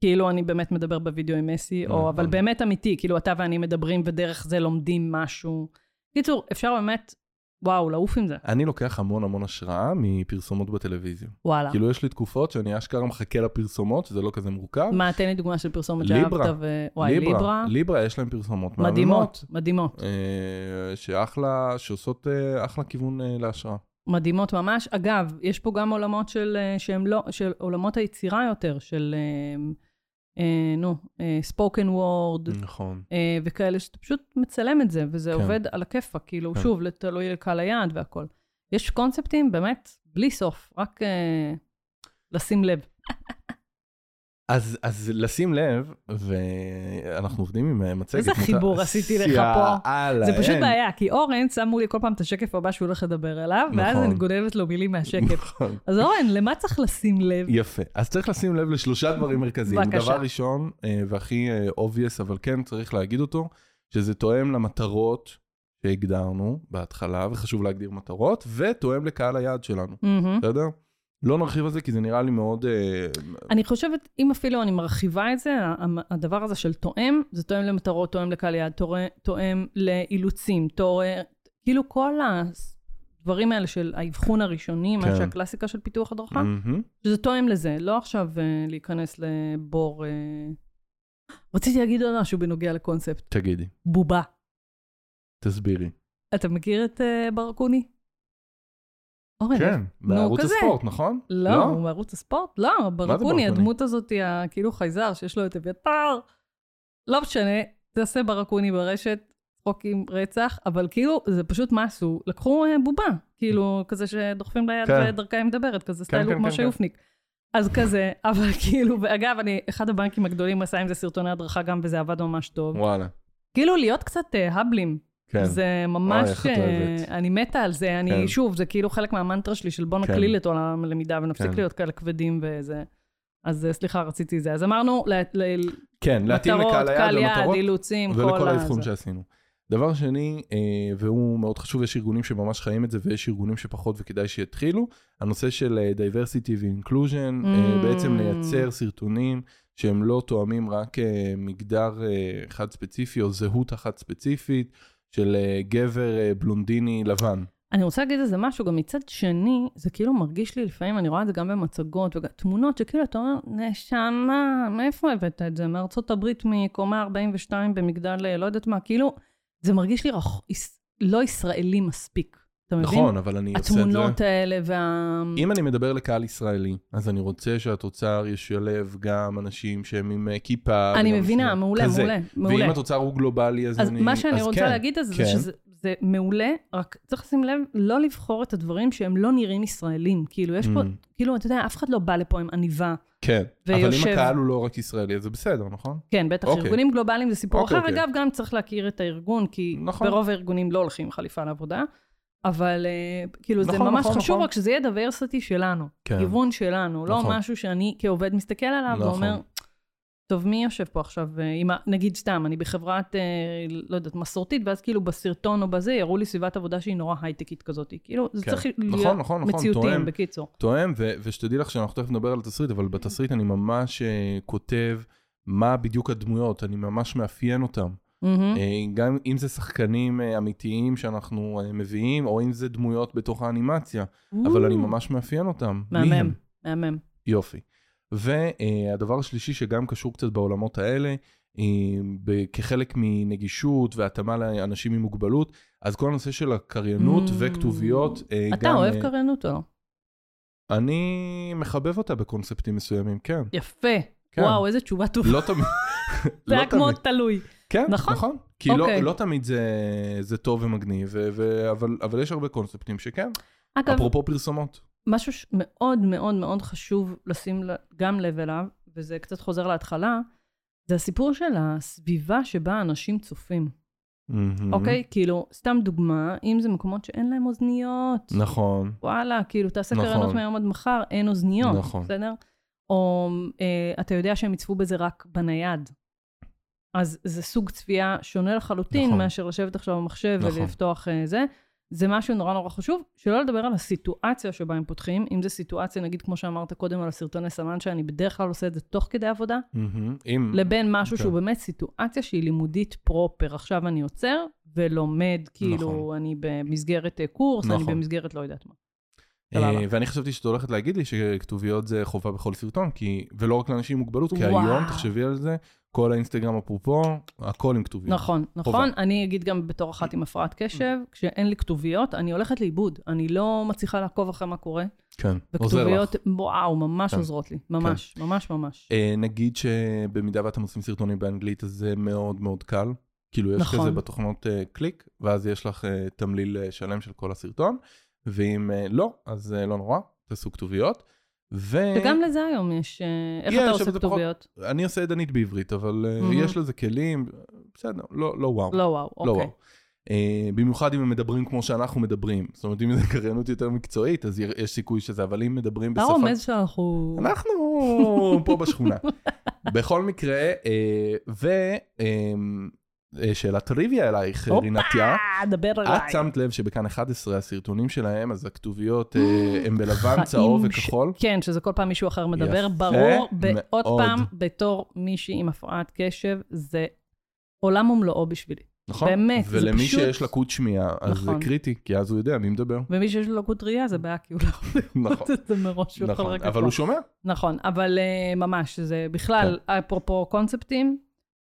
S1: כאילו אני באמת מדבר בוידאו עם מסי, או אבל
S2: נכון.
S1: באמת אמיתי, כאילו אתה ואני מדברים ודרך זה לומדים משהו. קיצור, אפשר באמת, וואו, לעוף עם זה,
S2: אני לוקח המון המון השראה מפרסומות בטלוויזיה.
S1: וואלה.
S2: כאילו יש לי תקופות שאני אשכרה מחכה לפרסומות, שזה לא כזה מורכב.
S1: מה, תן לי דוגמה של פרסומת
S2: ליברה.
S1: שאהבת, ו- וואי, ליברה,
S2: ליברה יש להם פרסומות מהממות.
S1: מדהימות, מדהימות.
S2: אה, שאחלה, שעושות אה, אחלה כיוון אה, להשראה.
S1: מדהימות ממש. אגב, יש פה גם עולמות של, אה, שהם לא, של עולמות היצירה יותר, של, אה, אה, נו, ספוקן וורד,
S2: נכון.
S1: וכאלה, שאתה פשוט מצלם את זה, וזה
S2: כן.
S1: כן. עובד על הכיפאק, כאילו,
S2: כן.
S1: כן. שוב, תלוי לקהל היעד והכל. יש קונספטים, באמת, בלי סוף, רק אה, לשים לב.
S2: אז, אז לשים לב, ואנחנו עובדים עם אה, מצגת.
S1: איזה
S2: מותר-
S1: חיבור עשיתי לך פה.
S2: יאללה,
S1: זה פשוט
S2: אין.
S1: בעיה, כי אורן שם מולי כל פעם את השקף הבא שהוא הולך לדבר עליו, ואז
S2: נכון.
S1: אני גונבת לו מילים מהשקף.
S2: נכון.
S1: אז אורן, למה צריך לשים לב?
S2: יפה. אז צריך לשים לב לשלושה דברים מרכזיים.
S1: בבקשה.
S2: דבר ראשון, אה, והכי אה, obvious, אבל כן צריך להגיד אותו, שזה תואם למטרות שהגדרנו בהתחלה, וחשוב להגדיר מטרות, ותואם לקהל היעד שלנו,
S1: מהמם.
S2: בסדר? לא נרחיב על זה, כי זה נראה לי מאוד... אה,
S1: אני חושבת, אם אפילו אני מרחיבה את זה, המ- הדבר הזה של תואם, זה תואם למטרות, תואם לקהל יעד, תואם- תואם לאילוצים, תואם, כאילו כל הדברים האלה של האבחון הראשוני,
S2: כן. Mm-hmm.
S1: מה שהקלאסיקה של פיתוח הדרכה,
S2: מהמם.
S1: שזה תואם לזה, לא עכשיו אה, להיכנס לבור... אה. רציתי להגיד עוד משהו בנוגע לקונספט,
S2: תגידי,
S1: בובה.
S2: תסבירי.
S1: אתה מכיר את אה, ברקוני? אורן,
S2: כן,
S1: נו,
S2: בערוץ
S1: כזה.
S2: הספורט, נכון?
S1: לא, הוא מערוץ הספורט? לא, ברקוני,
S2: ברקוני?
S1: הדמות הזאת, היא ה- כאילו חייזר שיש לו את אביתר. לא משנה, תעשה ברקוני ברשת, צחוקים רצח, אבל כאילו, זה פשוט מה עשו, לקחו אה, בובה, כאילו, כזה שדוחפים ליד
S2: כן.
S1: ודרכה היא מדברת, כזה
S2: כן,
S1: סטייל הוא
S2: כן,
S1: כמו
S2: כן, כן.
S1: שיופניק. אז כזה, אבל כאילו, ואגב, אני, אחד הבנקים הגדולים עשה עם זה סרטוני הדרכה גם, וזה עבד ממש טוב.
S2: וואלה,
S1: כאילו, להיות קצת אה, הבלים,
S2: כן.
S1: זה ממש,
S2: אוי, איך את אוהבת.
S1: אה, אני מתה על זה,
S2: כן.
S1: אני, שוב, זה כאילו חלק מהמנטרה שלי של בוא
S2: כן.
S1: נקליל את עולם הלמידה ונפסיק
S2: כן.
S1: להיות כאלה כבדים וזה. אז אה, סליחה, רציתי זה. אז אמרנו, ל- ל-
S2: כן, להתאים
S1: מטרות,
S2: לקהל היעד
S1: קהל יעד,
S2: למטרות
S1: אילוצים, כל
S2: ולכל
S1: ה-
S2: האבחון
S1: זה.
S2: שעשינו. דבר שני, אה, והוא מאוד חשוב, יש ארגונים שממש חיים את זה ויש ארגונים שפחות וכדאי שיתחילו, הנושא של אה, diversity ו-inclusion, אה,
S1: Mm.
S2: בעצם לייצר סרטונים שהם לא תואמים רק אה, מגדר אה, אחד ספציפי או זהות אחת ספציפית של אה, גבר אה, בלונדיני לבן.
S1: אני רוצה להגיד איזה משהו, גם מצד שני, זה כאילו מרגיש לי לפעמים, אני רואה את זה גם במצגות, ותמונות שכאילו אתה אומר, נשמה, מאיפה הבאת את זה? מארצות הברית, מקומה 42 במגדל, אה, לא יודעת מה, כאילו, זה מרגיש לי רח... יש- לא ישראלי מספיק. אתה מבין?
S2: נכון, אבל אני עושה את זה...
S1: התמונות האלה וה...
S2: אם אני מדבר לקהל ישראלי, אז אני רוצה שהתוצר ישלב גם אנשים שהם עם אה, כיפה.
S1: אני
S2: וגם
S1: מבינה,
S2: שני-
S1: מעולה,
S2: כזה.
S1: מעולה, מעולה.
S2: ואם התוצר הוא גלובלי, אז,
S1: אז
S2: אני...
S1: מה שאני
S2: אז
S1: רוצה
S2: כן.
S1: להגיד אז
S2: כן.
S1: זה שזה... זה זה מעולה, רק צריך לשים לב לא לבחור את הדברים שהם לא נראים ישראלים. כאילו, יש פה,
S2: Mm.
S1: כאילו, אתה יודע, אף אחד לא בא לפה עם עניבה.
S2: כן. אבל
S1: ויושב-
S2: אם הקהל הוא לא רק ישראלי, אז זה בסדר, נכון?
S1: כן, בטח,
S2: אוקיי.
S1: ארגונים גלובליים זה סיפור
S2: אוקיי,
S1: אחר.
S2: אוקיי.
S1: אגב, גם צריך להכיר את הארגון, כי
S2: נכון.
S1: ברוב הארגונים לא הולכים עם חליפה לעבודה. אבל אה, כאילו, זה
S2: נכון,
S1: ממש
S2: נכון,
S1: חשוב,
S2: נכון.
S1: רק שזה יהיה דברסיטי שלנו.
S2: כן.
S1: גיוון שלנו, לא
S2: נכון.
S1: משהו שאני כעובד מסתכל עליו
S2: נכון.
S1: ואומר, טוב, מי יושב פה עכשיו? אה, עם ה- נגיד סתם, אני בחברת, אה, לא יודעת, מסורתית, ואז כאילו בסרטון או בזה, יראו לי סביבת עבודה שהיא נורא הייטקית כזאת. כאילו, זה
S2: כן.
S1: צריך
S2: נכון,
S1: להיות
S2: נכון, נכון,
S1: מציאותיים,
S2: תואם.
S1: בקיצור.
S2: תואם, ו- ושתדעי לך שאנחנו תכף נדבר על התסריט, אבל בתסריט אני ממש אה, כותב מה בדיוק הדמויות, אני ממש מאפיין אותם.
S1: מהמם.
S2: אה, גם אם זה שחקנים אה, אמיתיים שאנחנו אה, מביאים, או אם זה דמויות בתוך האנימציה, אבל אני ממש מאפיין אותם. מי הם?
S1: מהמם, מהמם.
S2: יופי. והדבר השלישי שגם קשור קצת בעולמות האלה, אה, ב- כחלק מנגישות והתאמה לאנשים עם מוגבלות, אז כל הנושא של הקריינות
S1: Mm.
S2: וכתוביות, אה,
S1: אתה
S2: גם,
S1: אוהב
S2: אה,
S1: קריינות או לא?
S2: אני מחבב אותה בקונספטים מסוימים, כן.
S1: יפה.
S2: כן.
S1: וואו, איזה תשובה טובה.
S2: לא תמיד.
S1: זה
S2: לא
S1: היה כמו
S2: תמיד.
S1: תלוי.
S2: כן,
S1: נכון.
S2: נכון. כי לא-
S1: אוקיי.
S2: לא תמיד זה- זה טוב ומגניב, ו- ו- אבל- אבל יש הרבה קונספטים שכן.
S1: אגב,
S2: אפרופו פרסומות.
S1: משהו שמאוד מאוד מאוד חשוב לשים ל- גם לב אליו, וזה קצת חוזר להתחלה, זה הסיפור של הסביבה שבה אנשים צופים, אוקיי? כאילו, סתם דוגמה, אם זה מקומות שאין להם אוזניות,
S2: נכון.
S1: וואלה, כאילו, תעשה
S2: נכון.
S1: קרנות מהיום עד מחר, אין אוזניות,
S2: נכון.
S1: בסדר? או אה, אתה יודע שהם יצפו בזה רק בנייד. אז זה סוג צפייה שונה לחלוטין
S2: נכון.
S1: מאשר לשבת עכשיו במחשב
S2: נכון.
S1: ולפתוח אה, זה. זה משהו נורא נורא חשוב, שלא לדבר על הסיטואציה שבה הם פותחים, אם זו סיטואציה, נגיד, כמו שאמרת קודם על הסרטוני סמן, שאני בדרך כלל עושה את זה תוך כדי עבודה,
S2: מהמם. אם...
S1: לבין משהו
S2: כן.
S1: שהוא באמת סיטואציה שהיא לימודית פרופר. עכשיו אני עוצר ולומד, כאילו,
S2: נכון.
S1: אני במסגרת אה, קורס, אני
S2: נכון.
S1: במסגרת לא יודעת מה.
S2: אה,
S1: סבבה.
S2: ואני חשבתי שאת הולכת להגיד לי שכתוביות זה חובה בכל סרטון, כי... ולא רק לאנשים עם מוגבלות, כי
S1: וואו.
S2: היום, תחשבי על זה, כל האינסטגרם אפרופו, הכל עם כתוביות.
S1: נכון, נכון. אני אגיד גם בתור אחת עם הפרעת קשב,
S2: Mm-hmm.
S1: כשאין לי כתוביות, אני הולכת לאיבוד. אני לא מצליחה לעקוב אחרי מה קורה,
S2: כן, עוזר לך.
S1: וכתוביות, וואו, ממש
S2: כן.
S1: עוזרות לי. ממש, ממש ממש.
S2: אה, נגיד שבמידה ואתם עושים סרטונים באנגלית, אז זה מאוד מאוד קל. כאילו, יש
S1: נכון.
S2: כזה בתוכנות אה, קליק, ואז יש לך אה, תמליל אה, שלם של כל הסרטון, ואם אה, לא, אז אה, לא נורא, תעשו כתוביות. ו...
S1: וגם לזה היום יש... אה, איך
S2: יש,
S1: אתה
S2: אבל
S1: עושה
S2: זה פחות-
S1: כתוביות?
S2: אני עושה ידנית בעברית, אבל אה,
S1: מהמם.
S2: יש לזה כלים, בסדר, לא לא וואו.
S1: לא וואו,
S2: לא
S1: אוקיי.
S2: וואו. אה, במיוחד אם הם מדברים כמו שאנחנו מדברים. זאת אומרת, אם זו קריינות יותר מקצועית, אז יש סיכוי שזה, אבל אם מדברים
S1: אתה
S2: בשפה...
S1: רומז שאנחנו...
S2: אנחנו פה בשכונה. בכל מקרה, אה, ו... אה, אה, שאלת טריוויה אלייך, אה,
S1: הופה,
S2: רינתיה.
S1: דבר
S2: את
S1: עליי.
S2: שמת לב שבכאן 11 הסרטונים שלהם, אז הכתוביות אה, הם בלבן,
S1: חיים
S2: צהוב
S1: ש-
S2: וכחול.
S1: כן, שזה כל פעם מישהו אחר מדבר.
S2: יפה
S1: ברור, עוד
S2: מאוד.
S1: פעם, בתור מישהי עם הפרעת קשב, זה עולם ומלואו בשבילי.
S2: נכון?
S1: באמת, זה
S2: ולמי
S1: פשוט-
S2: שיש לקות שמיעה, אז זה
S1: נכון.
S2: קריטי, כי אז הוא יודע מי מדבר.
S1: ומי שיש לו לקות ראייה, זה בעיה, כי הוא לא יכול
S2: נכון,
S1: לעשות את זה מראש, הוא יכול
S2: נכון,
S1: רק...
S2: אבל
S1: לפתוח.
S2: הוא שומע.
S1: נכון, אבל אה, ממש, זה בכלל,
S2: כן.
S1: אפרופו קונספטים,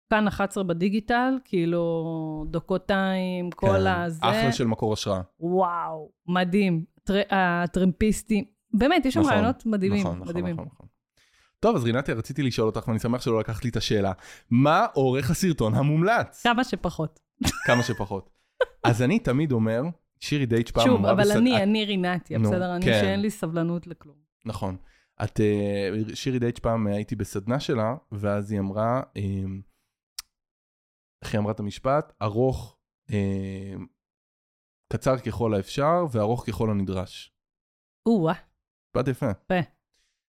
S1: כאן 11 בדיגיטל, כאילו, דוקותיים, כל
S2: כן,
S1: הזה,
S2: אחלה של מקור השראה.
S1: וואו, מדהים. טר, הטרמפיסטים, באמת, יש שם
S2: נכון,
S1: רעיונות מדהימים,
S2: נכון, נכון,
S1: מדהימים.
S2: נכון, נכון. טוב, אז רינתי, רציתי לשאול אותך, ואני שמח שלא לקחת לי את השאלה. מה אורך הסרטון המומלץ?
S1: כמה שפחות.
S2: כמה שפחות. אז אני תמיד אומר, שירי דייץ' פעם
S1: שוב,
S2: אמרה
S1: אבל
S2: בסד-
S1: אני,
S2: את-
S1: אני רינתיה,
S2: נו,
S1: בסדר? אני
S2: כן.
S1: שאין לי סבלנות לכלום.
S2: נכון. את, אה, שירי דייץ' פעם אה, הייתי בסדנה שלה, ואז היא אמרה, אה, איך היא אמרה את המשפט? ארוך, אה, קצר ככל האפשר, וארוך ככל הנדרש.
S1: או-אה,
S2: משפט יפה.
S1: יפה.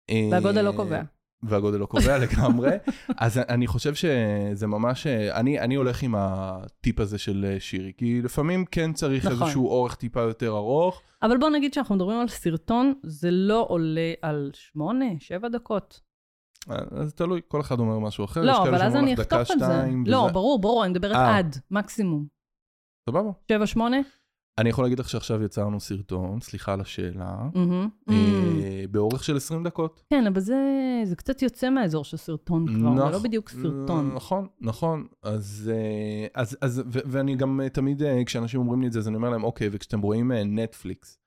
S2: אה,
S1: והגודל לא קובע.
S2: והגודל לא קובע לגמרי. אז אני חושב שזה ממש, אני, אני הולך עם הטיפ הזה של אה, שירי, כי לפעמים כן צריך
S1: נכון.
S2: נכון. איזשהו אורך טיפה יותר ארוך.
S1: אבל בוא נגיד שאנחנו מדברים על סרטון, זה לא עולה על שמונה, שבע דקות.
S2: אז תלוי, כל אחד אומר משהו אחר. אה, יש
S1: לא,
S2: כאלה
S1: אבל אז
S2: שאומרים
S1: אני
S2: לך דקה,
S1: אחתוך את זה.
S2: שתיים,
S1: לא,
S2: וזה-
S1: ברור, ברור, אני מדברת
S2: אה.
S1: עד, מקסימום.
S2: סבבה.
S1: שבע, שמונה?
S2: אני יכול להגיד לך שעכשיו יצרנו סרטון, סליחה על השאלה,
S1: מהמם.
S2: אה, באורך של 20 דקות.
S1: כן, אבל זה, זה קצת יוצא מהאזור של סרטון כבר,
S2: נכ-
S1: זה לא בדיוק סרטון.
S2: נכון, נכון. אז, אה, אז, אז ו- ואני גם אה, תמיד, אה, כשאנשים אומרים לי את זה, אז אני אומר להם, אוקיי, וכשאתם רואים אה, נטפליקס,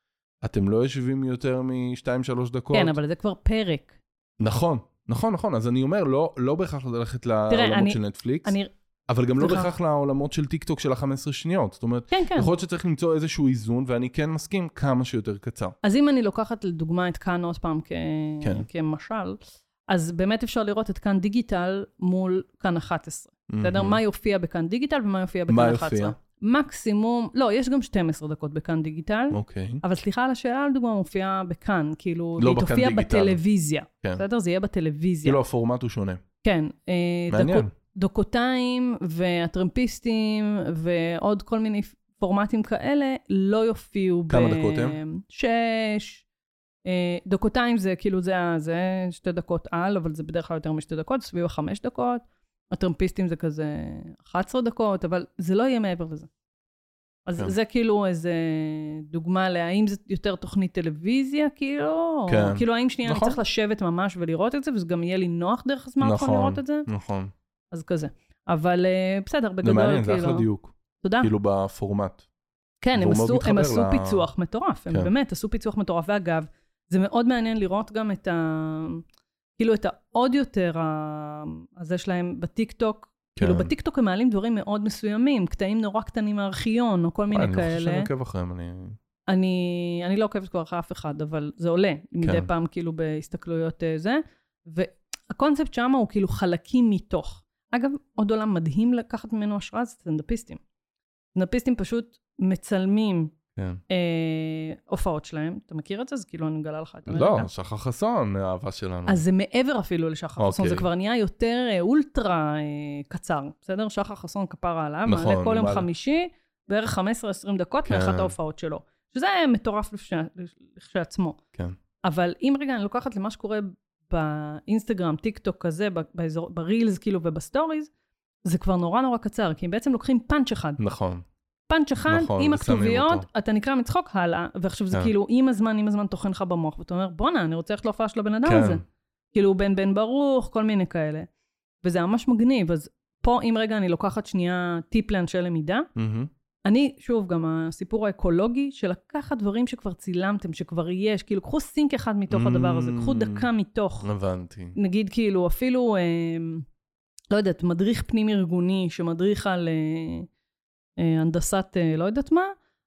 S2: אתם לא יושבים יותר מ-2-3 דקות?
S1: כן, אבל זה כבר פרק.
S2: נכון, נכון, נכון. אז אני אומר, לא, לא בהכרח ללכת לעולמות
S1: אני-
S2: של נטפליקס.
S1: אני
S2: אבל גם לא
S1: סליחה.
S2: בהכרח לעולמות של טיק טוק של ה-15 שניות. זאת אומרת,
S1: כן, כן.
S2: יכול להיות שצריך למצוא איזשהו איזון, ואני כן מסכים, כמה שיותר קצר.
S1: אז אם אני לוקחת לדוגמה את כאן עוד פעם כ...
S2: כן.
S1: כמשל, אז באמת אפשר לראות את כאן דיגיטל מול כאן 11. בסדר? מה יופיע בכאן דיגיטל ומה יופיע בכאן
S2: מה
S1: 11.
S2: יופיע?
S1: מקסימום, לא, יש גם 12 דקות בכאן דיגיטל,
S2: אוקיי.
S1: אבל סליחה על השאלה, לדוגמה, מופיעה בכאן, כאילו,
S2: לא
S1: היא
S2: בכאן
S1: תופיע
S2: דיגיטל.
S1: בטלוויזיה,
S2: כן.
S1: בסדר? זה יהיה בטלוויזיה.
S2: כאילו הפורמט הוא שונה.
S1: כן. אה,
S2: מעניין.
S1: דקות- דוקותיים והטרמפיסטים ועוד כל מיני פורמטים כאלה לא יופיעו ב...
S2: כמה דקות הם?
S1: שש. אה, דקותיים זה כאילו זה, ה- זה שתי דקות על, אבל זה בדרך כלל יותר משתי דקות, סביב החמש דקות. הטרמפיסטים זה כזה 11 דקות, אבל זה לא יהיה מעבר לזה. אז
S2: כן.
S1: כן. זה כאילו איזה דוגמה להאם זה יותר תוכנית טלוויזיה, כאילו,
S2: כן.
S1: או, כאילו האם שנייה
S2: נכון.
S1: אני צריך לשבת ממש ולראות את זה, וזה גם יהיה לי נוח דרך הסמארטפון
S2: נכון.
S1: לראות את זה.
S2: נכון.
S1: אז כזה. אבל אה, בסדר,
S2: זה
S1: בגדול,
S2: מעניין, זה
S1: כאילו.
S2: אחלה דיוק.
S1: תודה.
S2: כאילו בפורמט.
S1: כן, הם
S2: והוא מאוד
S1: עשו, הם
S2: מתחבר
S1: עשו
S2: ל-
S1: פיצוח מטורף, הם
S2: כן.
S1: באמת עשו פיצוח מטורף. ואגב, זה מאוד מעניין לראות גם את ה... כאילו את העוד יותר ה... הזה שלהם בטיקטוק.
S2: כן.
S1: כאילו בטיקטוק הם מעלים דברים מאוד מסוימים, קטעים נורא קטנים מהארכיון, או כל
S2: וואי,
S1: מיני
S2: אני לא חושב שאני
S1: כאלה.
S2: עוקב אחריהם, אני...
S1: אני, אני לא עוקבת כבר אחרי אף אחד, אבל זה עולה מדי
S2: כן.
S1: פעם כאילו בהסתכלויות אה, זה. והקונספט שם הוא כאילו חלקים מתוך. אגב, עוד עולם מדהים לקחת ממנו השראה זה סטנדאפיסטים. סטנדאפיסטים פשוט מצלמים
S2: כן.
S1: אה, הופעות שלהם. אתה מכיר את זה? זה כאילו אני מגלה לך את
S2: לא,
S1: הרקע.
S2: שחר חסון, האהבה שלנו.
S1: אז זה מעבר אפילו לשחר חסון,
S2: אוקיי.
S1: זה כבר נהיה יותר אה, אולטרה אה, קצר, בסדר? שחר חסון כפרה עליו,
S2: נכון,
S1: מעלה כל יום
S2: מעלה.
S1: חמישי, בערך 15-20 דקות
S2: כן.
S1: מאחת ההופעות שלו. שזה מטורף לפש- לכשעצמו.
S2: כן.
S1: אבל אם רגע אני לוקחת למה שקורה באינסטגרם, טיק טוק כזה, ב- באזור, ברילס כאילו ובסטוריז, זה כבר נורא נורא קצר, כי הם בעצם לוקחים פאנץ' אחד.
S2: נכון.
S1: פאנץ' אחד
S2: נכון,
S1: עם
S2: ושמים
S1: הכתוביות,
S2: אותו.
S1: אתה נקרע מצחוק הלאה, ועכשיו זה
S2: כן.
S1: כאילו עם הזמן, עם הזמן טוחן לך במוח, ואתה אומר, בואנה, אני רוצה ללכת להופעה של הבן אדם הזה.
S2: כן.
S1: כאילו בן בן ברוך, כל מיני כאלה. וזה ממש מגניב, אז פה אם רגע אני לוקחת שנייה טיפ לאנשי למידה,
S2: מהמם.
S1: אני, שוב, גם הסיפור האקולוגי של לקחת דברים שכבר צילמתם, שכבר יש, כאילו קחו סינק אחד מתוך הדבר הזה, קחו
S2: Mm.
S1: דקה מתוך.
S2: הבנתי.
S1: נגיד כאילו אפילו, אה, לא יודעת, מדריך פנים ארגוני שמדריך על אה, אה, הנדסת אה, לא יודעת מה,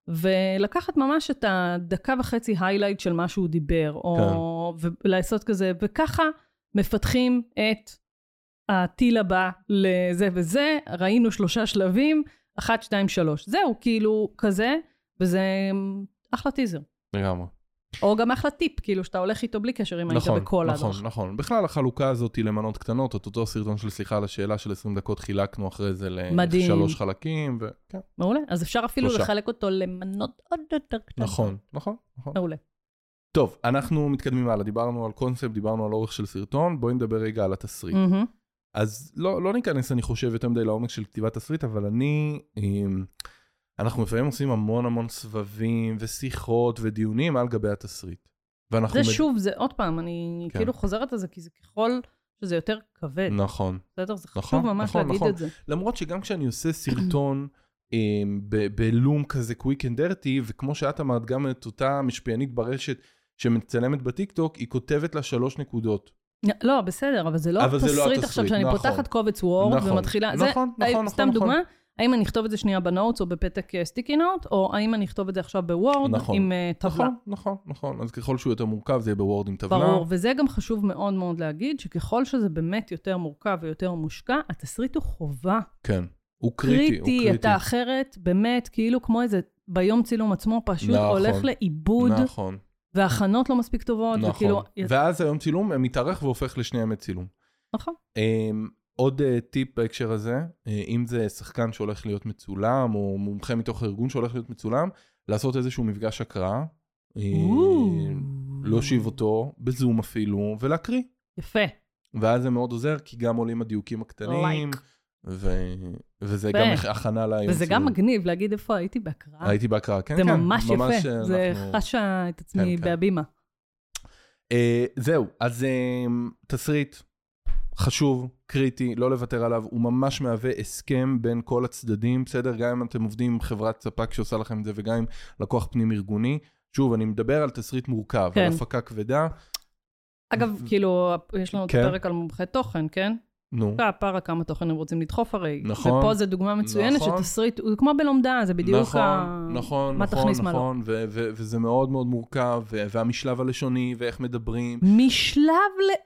S1: ולקחת ממש את הדקה וחצי היילייט של מה שהוא דיבר, או כן. ולעשות כזה, וככה מפתחים את הטיל הבא לזה וזה, ראינו שלושה שלבים, אחת, שתיים, שלוש. זהו, כאילו, כזה, וזה אמ, אחלה טיזר.
S2: לגמרי.
S1: או גם אחלה טיפ, כאילו, שאתה הולך איתו בלי קשר אם היית בכל
S2: נכון,
S1: ההדרכה.
S2: נכון. בכלל החלוקה הזאת היא למנות קטנות, את אותו סרטון של סליחה על השאלה של 20 דקות חילקנו אחרי זה
S1: מדהים.
S2: לשלוש חלקים, כן, וכן,
S1: מעולה. אז אפשר אפילו
S2: שלושה.
S1: לחלק אותו למנות עוד יותר קטנות.
S2: נכון, נכון, נכון.
S1: מעולה.
S2: טוב, אנחנו מתקדמים הלאה, דיברנו על קונספט, דיברנו על אורך של סרטון, בואי נדבר רגע על התסריט.
S1: מהמם.
S2: אז לא, לא ניכנס, אני חושב, יותר מדי לעומק של כתיבת תסריט, אבל אני... אמ, אנחנו לפעמים עושים המון המון סבבים ושיחות ודיונים על גבי התסריט. ואנחנו...
S1: זה
S2: מד-
S1: שוב, זה עוד פעם, אני
S2: כן.
S1: כאילו חוזרת על זה, כי זה ככל שזה יותר כבד,
S2: נכון.
S1: בסדר? זה
S2: נכון,
S1: חשוב ממש
S2: נכון,
S1: להגיד
S2: נכון.
S1: את זה.
S2: למרות שגם כשאני עושה סרטון אמ, ב- בלום כזה קוויק אנד דרטי, וכמו שאת אמרת, גם את אותה משפיענית ברשת שמצלמת בטיקטוק, היא כותבת לה שלוש נקודות.
S1: לא, בסדר, אבל זה לא
S2: אבל זה לא
S1: תסריט עכשיו
S2: התסריט,
S1: שאני
S2: נכון.
S1: פותחת קובץ וורד
S2: נכון,
S1: ומתחילה... זה-
S2: נכון,
S1: אה,
S2: נכון,
S1: סתם
S2: נכון,
S1: דוגמה, האם אני אכתוב את זה שנייה בנוטס או בפתק אה, סטיקי נוט, או האם אני אכתוב את זה עכשיו בוורד
S2: נכון,
S1: עם אה, טבלה.
S2: נכון, נכון, נכון. אז ככל שהוא יותר מורכב, זה יהיה בוורד עם טבלה.
S1: ברור, וזה גם חשוב מאוד מאוד להגיד, שככל שזה באמת יותר מורכב ויותר מושקע, התסריט הוא חובה.
S2: כן. הוא קריטי, הוא קריטי.
S1: קריטי, אתה אחרת, באמת, כאילו כמו איזה, ביום צילום עצמו פשוט
S2: נכון.
S1: הולך לאיבוד,
S2: נכון,
S1: והכנות לא מספיק טובות,
S2: נכון.
S1: וכאילו...
S2: ואז היום צילום מתארך והופך לשני ימי צילום.
S1: נכון.
S2: אמ, עוד אה, טיפ בהקשר הזה, אה, אם זה שחקן שהולך להיות מצולם, או מומחה מתוך הארגון שהולך להיות מצולם, לעשות איזשהו מפגש הקראה, אה, להושיב אותו, אה, בזום אפילו, ולהקריא.
S1: יפה.
S2: ואז זה מאוד עוזר, כי גם עולים הדיוקים הקטנים,
S1: לייק.
S2: ו- וזה
S1: יפה.
S2: גם הכנה להיום.
S1: וזה
S2: צילום.
S1: גם מגניב להגיד איפה הייתי בהקראה.
S2: הייתי בהקראה, כן,
S1: זה
S2: כן.
S1: ממש יפה,
S2: אה,
S1: זה
S2: אנחנו-
S1: חשה את עצמי
S2: כן.
S1: בהבימה.
S2: אה, זהו, אז אה, תסריט חשוב, קריטי, לא לוותר עליו, הוא ממש מהווה הסכם בין כל הצדדים, בסדר? גם אם אתם עובדים עם חברת ספק שעושה לכם את זה וגם עם לקוח פנים ארגוני. שוב, אני מדבר על תסריט מורכב,
S1: כן.
S2: על הפקה כבדה.
S1: אגב, כאילו, יש לנו את
S2: כן.
S1: הפרק על מומחי תוכן, כן?
S2: נו.
S1: הפרה כמה תוכן הם רוצים לדחוף הרי.
S2: נכון.
S1: ופה זו דוגמה מצוינת
S2: נכון.
S1: שתסריט, הוא כמו בלומדה, זה בדיוק
S2: נכון,
S1: ה...
S2: נכון,
S1: מה
S2: נכון,
S1: תכניס, מה לא.
S2: נכון, ו- ו- וזה מאוד מאוד מורכב, ו- והמשלב הלשוני, ואיך מדברים.
S1: משלב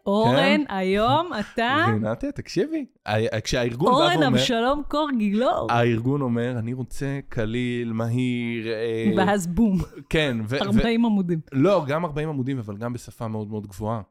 S1: לאורן,
S2: כן.
S1: היום אתה
S2: ונתי, תקשיבי, ה- כשהארגון בא
S1: אורן
S2: ואומר,
S1: אבשלום לא. קור גילאור.
S2: הארגון אומר, אני רוצה קליל, מהיר, אה,
S1: ואז בום,
S2: כן, ו- ו-
S1: 40 עמודים.
S2: לא, גם 40 עמודים, אבל גם בשפה מאוד מאוד גבוהה.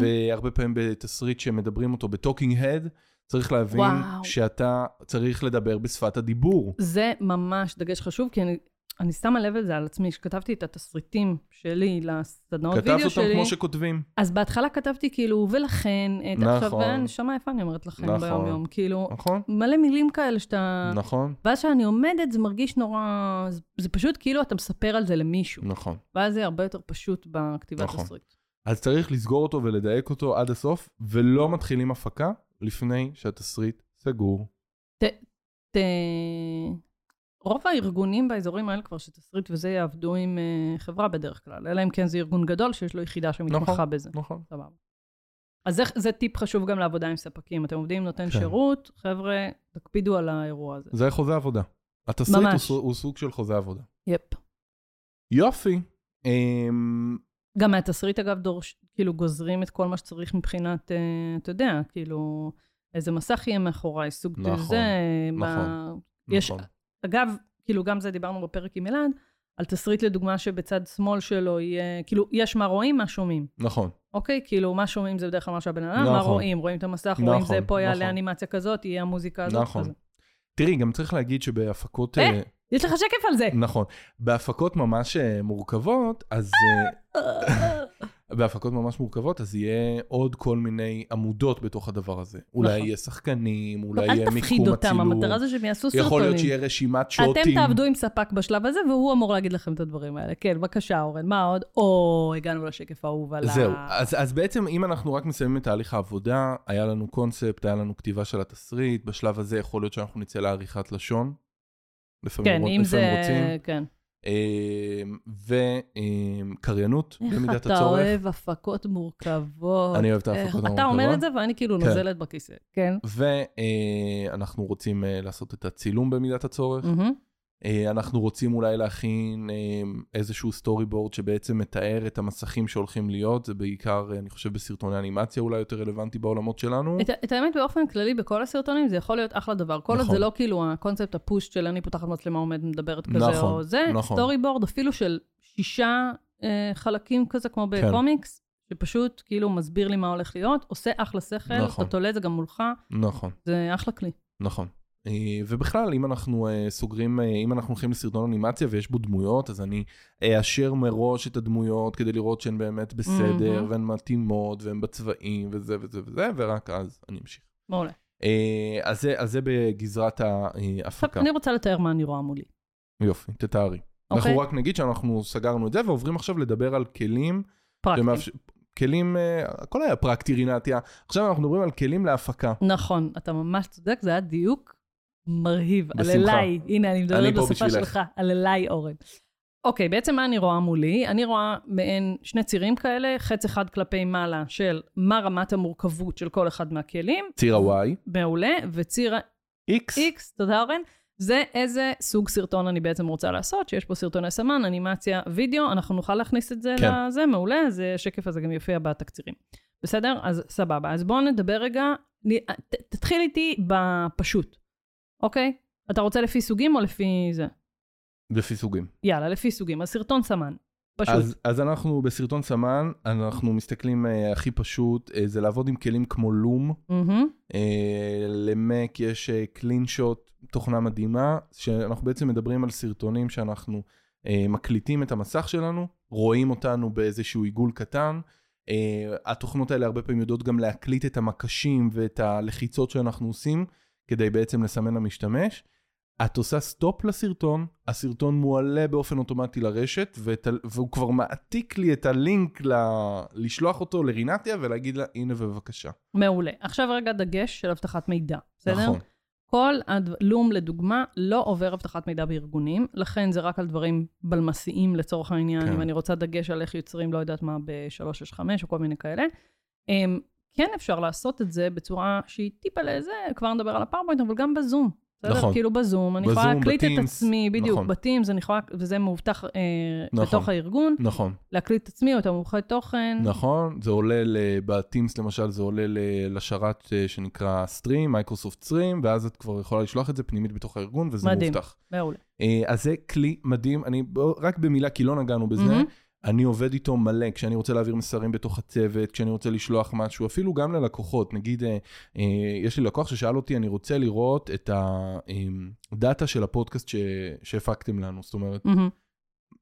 S2: והרבה פעמים בתסריט שמדברים אותו בטוקינג הד, צריך להבין
S1: וואו.
S2: שאתה צריך לדבר בשפת הדיבור.
S1: זה ממש דגש חשוב, כי אני, אני שמה לב לזה על עצמי, כשכתבתי את התסריטים שלי לסדנאות
S2: כתבת
S1: וידאו
S2: אותם
S1: שלי,
S2: כמו שכותבים. עכשיו,
S1: אז בהתחלה כתבתי כאילו, ולכן, את נכון. עכשיו,
S2: נכון.
S1: נשמה יפה אני אומרת לכם
S2: נכון.
S1: ביום יום, כאילו,
S2: נכון?
S1: מלא מילים כאלה שאתה...
S2: נכון,
S1: ואז כשאני עומדת זה מרגיש נורא, זה- זה פשוט כאילו אתה מספר על זה למישהו,
S2: נכון.
S1: ואז זה הרבה יותר פשוט בכתיבת
S2: נכון.
S1: תסריט.
S2: אז צריך לסגור אותו ולדייק אותו עד הסוף, ולא מתחילים הפקה לפני שהתסריט סגור.
S1: ת... אה, רוב הארגונים באזורים האלה כבר שתסריט וזה יעבדו עם אה, חברה בדרך כלל, אלא אם כן זה ארגון גדול שיש לו יחידה שמתמחה
S2: נכון.
S1: בזה.
S2: נכון.
S1: סבבה. אז זה, זה טיפ חשוב גם לעבודה עם ספקים. אתם עובדים עם נותן
S2: כן.
S1: כן. שירות, חבר'ה, תקפידו על האירוע הזה.
S2: זה חוזה עבודה. התסריט
S1: ממש.
S2: הוא, סו- הוא סוג של חוזה עבודה.
S1: יפ.
S2: יופי. אמ,
S1: גם מהתסריט, אגב, דורש, כאילו גוזרים את כל מה שצריך מבחינת, אה, אתה יודע, כאילו, איזה מסך יהיה מאחוריי, סוג
S2: נכון,
S1: זה, מה...
S2: נכון.
S1: יש-
S2: נכון.
S1: אגב, כאילו, גם זה דיברנו בפרק עם אלעד, על תסריט לדוגמה שבצד שמאל שלו יהיה, כאילו, יש מה רואים, מה שומעים.
S2: נכון.
S1: אוקיי? כאילו, מה שומעים זה בדרך כלל מה שהבן אדם,
S2: נכון.
S1: מה רואים, רואים את המסך, רואים
S2: נכון,
S1: זה, פה
S2: נכון.
S1: יעלה אנימציה כזאת, יהיה המוזיקה הזאת.
S2: נכון.
S1: כזה.
S2: תראי, גם צריך להגיד שבהפקות...
S1: אה?
S2: אה,
S1: יש לך שקף על זה.
S2: נכון. בהפקות ממש אה, מורכבות, אז... אה, בהפקות ממש מורכבות, אז יהיה עוד כל מיני עמודות בתוך הדבר הזה. אולי
S1: נכון.
S2: יהיה שחקנים,
S1: לא,
S2: אולי יהיה
S1: אל תפחיד
S2: מיקום
S1: אותם,
S2: הצילום.
S1: המטרה זה שהם יעשו סרטונים.
S2: יכול להיות שיהיה רשימת שוטים.
S1: אתם תעבדו עם ספק בשלב הזה, והוא אמור להגיד לכם את הדברים האלה. כן, בבקשה, אורן, מה עוד? או, הגענו לשקף האהוב על ה...
S2: זהו, אז, אז בעצם אם אנחנו רק מסיימים את תהליך העבודה, היה לנו קונספט, היה לנו כתיבה של התסריט, בשלב הזה יכול להיות שאנחנו נצא לעריכת לשון. לפעמים,
S1: כן,
S2: רוצ-
S1: אם זה...
S2: לפעמים רוצים. אה,
S1: כן.
S2: וקריינות, במידת
S1: איך
S2: הצורך.
S1: אתה אוהב הפקות מורכבות.
S2: אני אוהב את
S1: איך-
S2: ההפקות המורכבות.
S1: אה, אתה אומר את זה, ואני כאילו
S2: כן.
S1: נוזלת בכיסא. כן.
S2: ואנחנו רוצים אה, לעשות את הצילום במידת הצורך.
S1: מהמם.
S2: אה, אנחנו רוצים אולי להכין אה, איזשהו סטורי בורד שבעצם מתאר את המסכים שהולכים להיות, זה בעיקר, אה, אני חושב, בסרטוני אנימציה אולי יותר רלוונטי בעולמות שלנו.
S1: את, ה- את האמת, באופן כללי, בכל הסרטונים זה יכול להיות אחלה דבר. כל עוד
S2: נכון.
S1: זה לא כאילו הקונספט הפוש של אני פותחת מצלמה עומדת מדברת כזה
S2: נכון,
S1: או זה,
S2: נכון.
S1: סטורי בורד אפילו של שישה אה, חלקים כזה, כמו
S2: כן.
S1: בקומיקס, שפשוט כאילו מסביר לי מה הולך להיות, עושה אחלה שכל,
S2: נכון.
S1: אתה תולה את זה גם מולך,
S2: נכון,
S1: זה אחלה כלי.
S2: נכון. אה, ובכלל, אם אנחנו אה, סוגרים, אה, אם אנחנו הולכים לסרטון אנימציה ויש בו דמויות, אז אני אאשר מראש את הדמויות כדי לראות שהן באמת בסדר,
S1: מהמם.
S2: והן מתאימות, והן בצבעים, וזה וזה וזה, ורק אז אני אמשיך.
S1: מעולה.
S2: אה, אז זה- אז זה בגזרת
S1: עכשיו,
S2: ההפקה.
S1: אני רוצה לתאר מה אני רואה מולי.
S2: יופי, תתארי.
S1: אוקיי.
S2: אנחנו רק נגיד שאנחנו סגרנו את זה ועוברים עכשיו לדבר על כלים
S1: פרקטי.
S2: שמאפש... כלים, אה, הכל היה פרקטי רינתיה, עכשיו אנחנו מדברים על כלים להפקה.
S1: נכון, אתה ממש צודק, זה היה דיוק מרהיב. על
S2: בשמחה.
S1: אליי, הנה, אני
S2: אני
S1: מדברת
S2: פה
S1: בשפה
S2: בשבילך.
S1: שלך, על אליי, אורן. אוקיי, בעצם מה אני רואה מולי? אני רואה מעין שני צירים כאלה, חץ אחד כלפי מעלה של מה רמת המורכבות של כל אחד מהכלים,
S2: ציר ה-Y,
S1: מעולה, וציר
S2: X,
S1: ה-X, תודה אורן, זה איזה סוג סרטון אני בעצם רוצה לעשות, שיש פה סרטוני סמן, אנימציה, וידאו, אנחנו נוכל להכניס את זה
S2: כן.
S1: כן. לזה, מעולה, אז אה, השקף הזה גם יופיע בתקצירים. בסדר? אז סבבה. אז בואו נדבר רגע, נ- ת- תתחיל איתי בפשוט, אוקיי? אתה רוצה לפי סוגים או לפי זה?
S2: לפי סוגים.
S1: יאללה, לפי סוגים. אז סרטון סמן, פשוט. אז...
S2: אז, אז אנחנו בסרטון סמן, אנחנו מסתכלים אה, הכי פשוט, אה, זה לעבוד עם כלים כמו לום. אה, למק יש קלין שוט, תוכנה מדהימה, שאנחנו בעצם מדברים על סרטונים שאנחנו אה, מקליטים את המסך שלנו, רואים אותנו באיזשהו עיגול קטן. אה, התוכנות האלה הרבה פעמים יודעות גם להקליט את המקשים ואת הלחיצות שאנחנו עושים, כדי בעצם לסמן למשתמש. את עושה סטופ לסרטון, הסרטון מועלה באופן אוטומטי לרשת, ואת, ה- והוא כבר מעתיק לי את הלינק ל, לשלוח אותו לרינתיה ולהגיד לה, הנה בבקשה.
S1: מעולה. עכשיו רגע דגש של אבטחת מידע, בסדר?
S2: נכון.
S1: כל הלום, לדוגמה, לא עובר אבטחת מידע בארגונים, לכן זה רק על דברים בלמסיים לצורך העניין,
S2: כן.
S1: כן. אם אני רוצה דגש על איך יוצרים, לא יודעת מה, ב-365 או כל מיני כאלה. הם, כן אפשר לעשות את זה בצורה שהיא טיפה לזה, כבר נדבר על הפאורפוינט, אבל גם בזום. בסדר?
S2: נכון.
S1: כאילו בזום, אני
S2: בזום,
S1: יכולה להקליט את
S2: בטימס,
S1: עצמי, בדיוק,
S2: נכון.
S1: בטימס, אני יכולה, וזה מאובטח אה,
S2: נכון.
S1: בתוך הארגון,
S2: נכון,
S1: להקליט את עצמי או את המומחי תוכן.
S2: נכון, זה עולה, ל- בטימס למשל, זה עולה ל- לשרת אה, שנקרא סטרים, מייקרוסופט סטרים, ואז את כבר יכולה לשלוח את זה פנימית בתוך הארגון, וזה
S1: מדהים.
S2: מובטח.
S1: מעולה.
S2: אה, אז זה כלי מדהים, אני בוא, רק במילה, כי לא נגענו בזה,
S1: מהמם.
S2: אני עובד איתו מלא, כשאני רוצה להעביר מסרים בתוך הצוות, כשאני רוצה לשלוח משהו, אפילו גם ללקוחות, נגיד, אה, אה, יש לי לקוח ששאל אותי, אני רוצה לראות את הדאטה של הפודקאסט ש... שהפקתם לנו, זאת אומרת,
S1: מהמם.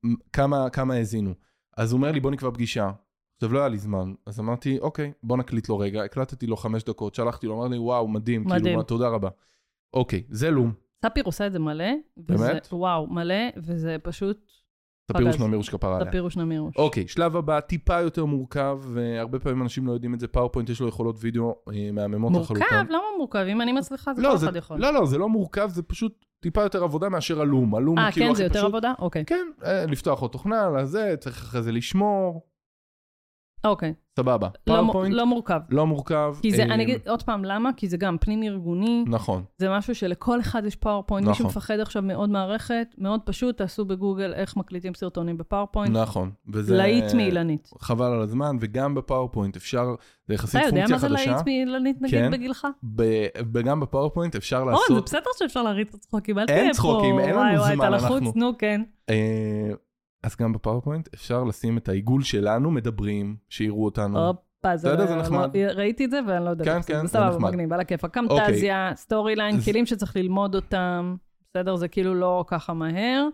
S2: מ- כמה, כמה האזינו. אז הוא אומר לי, בוא נקבע פגישה. עכשיו, לא היה לי זמן, אז אמרתי, אוקיי, בוא נקליט לו רגע, הקלטתי לו חמש דקות, שלחתי לו, אמר לי, וואו, מדהים,
S1: מדהים.
S2: כאילו, מה, תודה רבה. אוקיי, זה לום,
S1: ספיר עושה את זה מלא. וזה-
S2: באמת?
S1: וואו, מלא, וזה פשוט
S2: ספירוש
S1: פגז.
S2: נמירוש כפרה עליה.
S1: ספיר ושנמירוש.
S2: אוקיי, שלב הבא טיפה יותר מורכב, והרבה פעמים אנשים לא יודעים את זה, פאורפוינט יש לו יכולות וידאו אה, מהממות
S1: מורכב?
S2: לחלוטין.
S1: למה מורכב? אם אני מצליחה, זה
S2: לא,
S1: כל
S2: זה,
S1: אחד יכול.
S2: לא, לא, זה לא מורכב, זה פשוט טיפה יותר עבודה מאשר הלום. הלום
S1: אה,
S2: הוא כאילו
S1: כן,
S2: הכי
S1: זה יותר
S2: פשוט.
S1: עבודה? אוקיי.
S2: כן, אה, לפתוח עוד תוכנה, לזה, צריך אחרי זה לשמור,
S1: אוקיי.
S2: סבבה.
S1: לא מור-
S2: פאורפוינט,
S1: לא מורכב.
S2: לא מורכב.
S1: כי זה,
S2: אה,
S1: אני אגיד עוד פעם, למה? כי זה גם פנים-ארגוני,
S2: נכון,
S1: זה משהו שלכל אחד יש פאורפוינט. מישהו
S2: נכון.
S1: מפחד עכשיו מעוד מערכת, מאוד פשוט, תעשו בגוגל איך מקליטים סרטונים בפאורפוינט.
S2: נכון. וזה-
S1: להיט מאילנית.
S2: חבל על הזמן, וגם בפאורפוינט אפשר, זה יחסית
S1: אתה יודע
S2: פונקציה
S1: מה זה להיט
S2: חדשה.
S1: מאילנית, נגיד,
S2: כן.
S1: בגילך?
S2: ב- וגם בפאורפוינט אפשר
S1: אורן, זה
S2: לעשות...
S1: בסדר שאפשר להריץ את הצחוקים, אל
S2: אין
S1: תהיה פה.
S2: צחוקים, אין לנו
S1: וואי, וואי,
S2: זמן,
S1: אתה לחוץ,
S2: אנחנו-
S1: נו, כן.
S2: אה, אז גם בפאורפוינט אפשר לשים את העיגול שלנו מדברים, שיראו אותנו.
S1: הופה, זה
S2: אתה יודע, Mm. זה
S1: לא-
S2: נחמד.
S1: לא- ראיתי את זה ואני לא יודעת.
S2: כן,
S1: איך
S2: כן,
S1: זה
S2: זה
S1: סבבה,
S2: נחמד. אוקיי.
S1: מגניב, על הכיפאק. קמטזיה, סטורי ליין,
S2: אז-
S1: כלים שצריך ללמוד אותם, בסדר, זה כאילו לא ככה מהר.